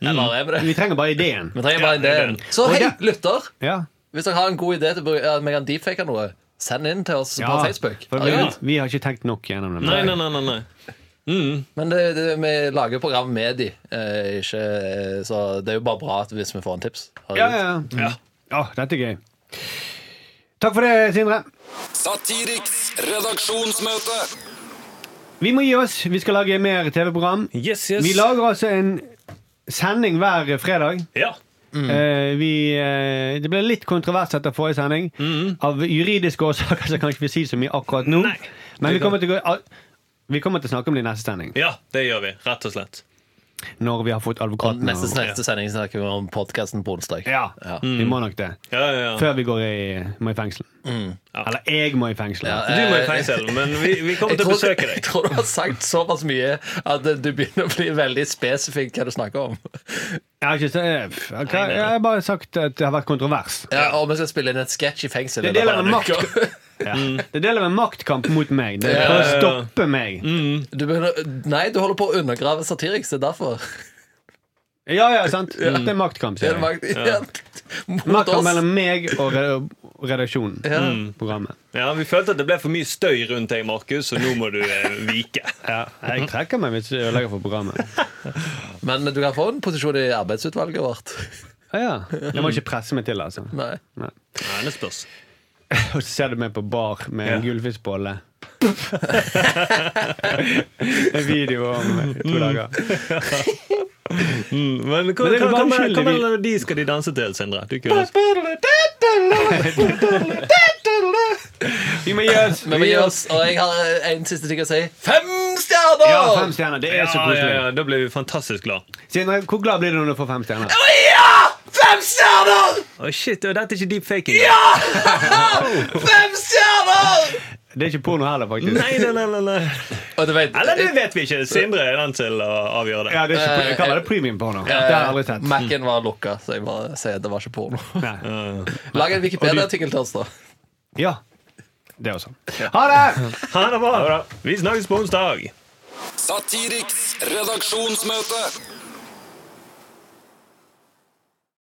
Speaker 4: Eller er vi det?
Speaker 2: Vi trenger bare ideen.
Speaker 4: Vi trenger bare
Speaker 6: Ja, det er
Speaker 4: ideen.
Speaker 6: det.
Speaker 4: Så
Speaker 2: Og
Speaker 4: hei,
Speaker 2: Mm. det-
Speaker 4: lytter.
Speaker 2: Ja.
Speaker 4: Hvis dere har en god idé til å bruke- at vi kan deepfake noe, send inn til oss på
Speaker 2: Ja,
Speaker 4: Facebook.
Speaker 2: For vi,
Speaker 4: Herregud.
Speaker 2: vi har ikke tenkt nok gjennom det.
Speaker 6: Nei, nei, nei, nei, nei.
Speaker 4: Men det, det, vi lager jo program med de, eh, ikke, eh, så det er jo bare bra at hvis vi får en tips. Herregud.
Speaker 2: Ja, ja. ja.
Speaker 6: Mm.
Speaker 2: Å, dette er gøy. Takk for det, Sindre.
Speaker 5: Satiriks redaksjonsmøte.
Speaker 2: Vi må gi oss. Vi skal lage mer TV-program.
Speaker 6: Yes, yes.
Speaker 2: Vi lager altså en sending hver fredag.
Speaker 6: Ja.
Speaker 4: Mm.
Speaker 2: Eh, vi, eh, det ble litt kontrovers etter forrige sending.
Speaker 4: Mm.
Speaker 2: Av juridiske årsaker så kan vi ikke si så mye akkurat nå.
Speaker 6: Nei.
Speaker 2: Men vi kommer, til å, gå- al- vi kommer til å snakke om det i neste sending.
Speaker 6: ja, det gjør vi. Rett og slett.
Speaker 2: Når vi har fått
Speaker 4: Og
Speaker 2: advokaten.
Speaker 4: neste,
Speaker 2: og-
Speaker 4: neste sending snakker vi om podkasten på onsdag.
Speaker 2: Ja,
Speaker 4: Ja. Mm.
Speaker 2: Vi må nok det.
Speaker 6: Ja, ja, ja.
Speaker 2: Før vi går i, må i fengsel. Eller jeg må i fengsel.
Speaker 4: Ja,
Speaker 6: Du må i fengsel, men vi, vi kommer
Speaker 4: Jeg
Speaker 6: til å
Speaker 4: tror,
Speaker 6: besøke
Speaker 4: jeg
Speaker 6: deg.
Speaker 4: tror du har sagt såpass mye at du begynner å bli veldig spesifikk hva du snakker om.
Speaker 2: Jeg har ikke så- pff, hva- jeg har bare sagt at det har vært kontrovers.
Speaker 4: Ja, og vi skal spille inn et sketsj i fengsel.
Speaker 2: Det er del av
Speaker 4: Eller
Speaker 2: en
Speaker 4: bare en uke.
Speaker 2: Ja. Det er del av en maktkamp mot meg. Det er
Speaker 4: Mm. Ja, Mm.
Speaker 2: for å
Speaker 6: ja, ja.
Speaker 2: stoppe meg.
Speaker 4: Du begynner, nei, du holder på å undergrave Satiriks. Det er derfor.
Speaker 2: Ja, ja, sant. Det er maktkamp,
Speaker 4: Det
Speaker 2: sier
Speaker 4: er
Speaker 2: jeg.
Speaker 4: makt ja. mot
Speaker 2: Maktkamp
Speaker 4: oss.
Speaker 2: mellom Mm. meg og re- redaksjonen. Programmet.
Speaker 6: Ja, Vi følte at det ble for mye støy rundt deg, Markus, så nå må du eh, vike.
Speaker 2: Ja, jeg trekker meg hvis jeg ødelegger for programmet.
Speaker 4: Men du kan få en posisjon i arbeidsutvalget vårt.
Speaker 2: Ja, ja. Jeg må ikke presse meg til, altså.
Speaker 4: Nei.
Speaker 2: Nei.
Speaker 6: Nei, det spørs.
Speaker 2: Og så ser du meg på bar med en
Speaker 6: Ja.
Speaker 2: gullfiskbolle. en video om to dager.
Speaker 6: Mm, Men hva,
Speaker 2: Men det er
Speaker 6: hva,
Speaker 2: jo
Speaker 6: hva,
Speaker 2: bare
Speaker 6: hva,
Speaker 2: uskyldig, vi-
Speaker 6: melodi skal de danse til, Sindre? Du kunne
Speaker 2: Vi må gi oss!
Speaker 4: Men vi gir oss, og jeg har eh, en siste ting å si. Fem stjerner!
Speaker 2: Ja, fem stjerner. Det er så
Speaker 6: Ja, ja,
Speaker 2: koselig.
Speaker 6: ja, da ble vi fantastisk glad.
Speaker 2: Sindre, hvor glad blir du når du får fem stjerner?
Speaker 4: Fem stjerner!
Speaker 6: Å shit, og dette er ikke deepfaking?
Speaker 4: Fem stjerner!
Speaker 2: Det er ikke porno heller, faktisk.
Speaker 6: Nei, nei, nei, nei, nei.
Speaker 4: Og du vet
Speaker 6: Eller det vet vi ikke. Sindre er den til å avgjøre det.
Speaker 2: Ja, det er ikke, jeg kaller det premium porno. Det har jeg aldri
Speaker 4: eh,
Speaker 2: sett.
Speaker 4: Mac-en var lukka, så jeg bare sier at det var ikke porno.
Speaker 2: Nei.
Speaker 4: Lag en Wikipedia-artikkel til oss, da.
Speaker 2: Ja. Det også. Ha det!
Speaker 6: Ha det bra. Vi snakkes på onsdag.
Speaker 5: Satiriks redaksjonsmøte.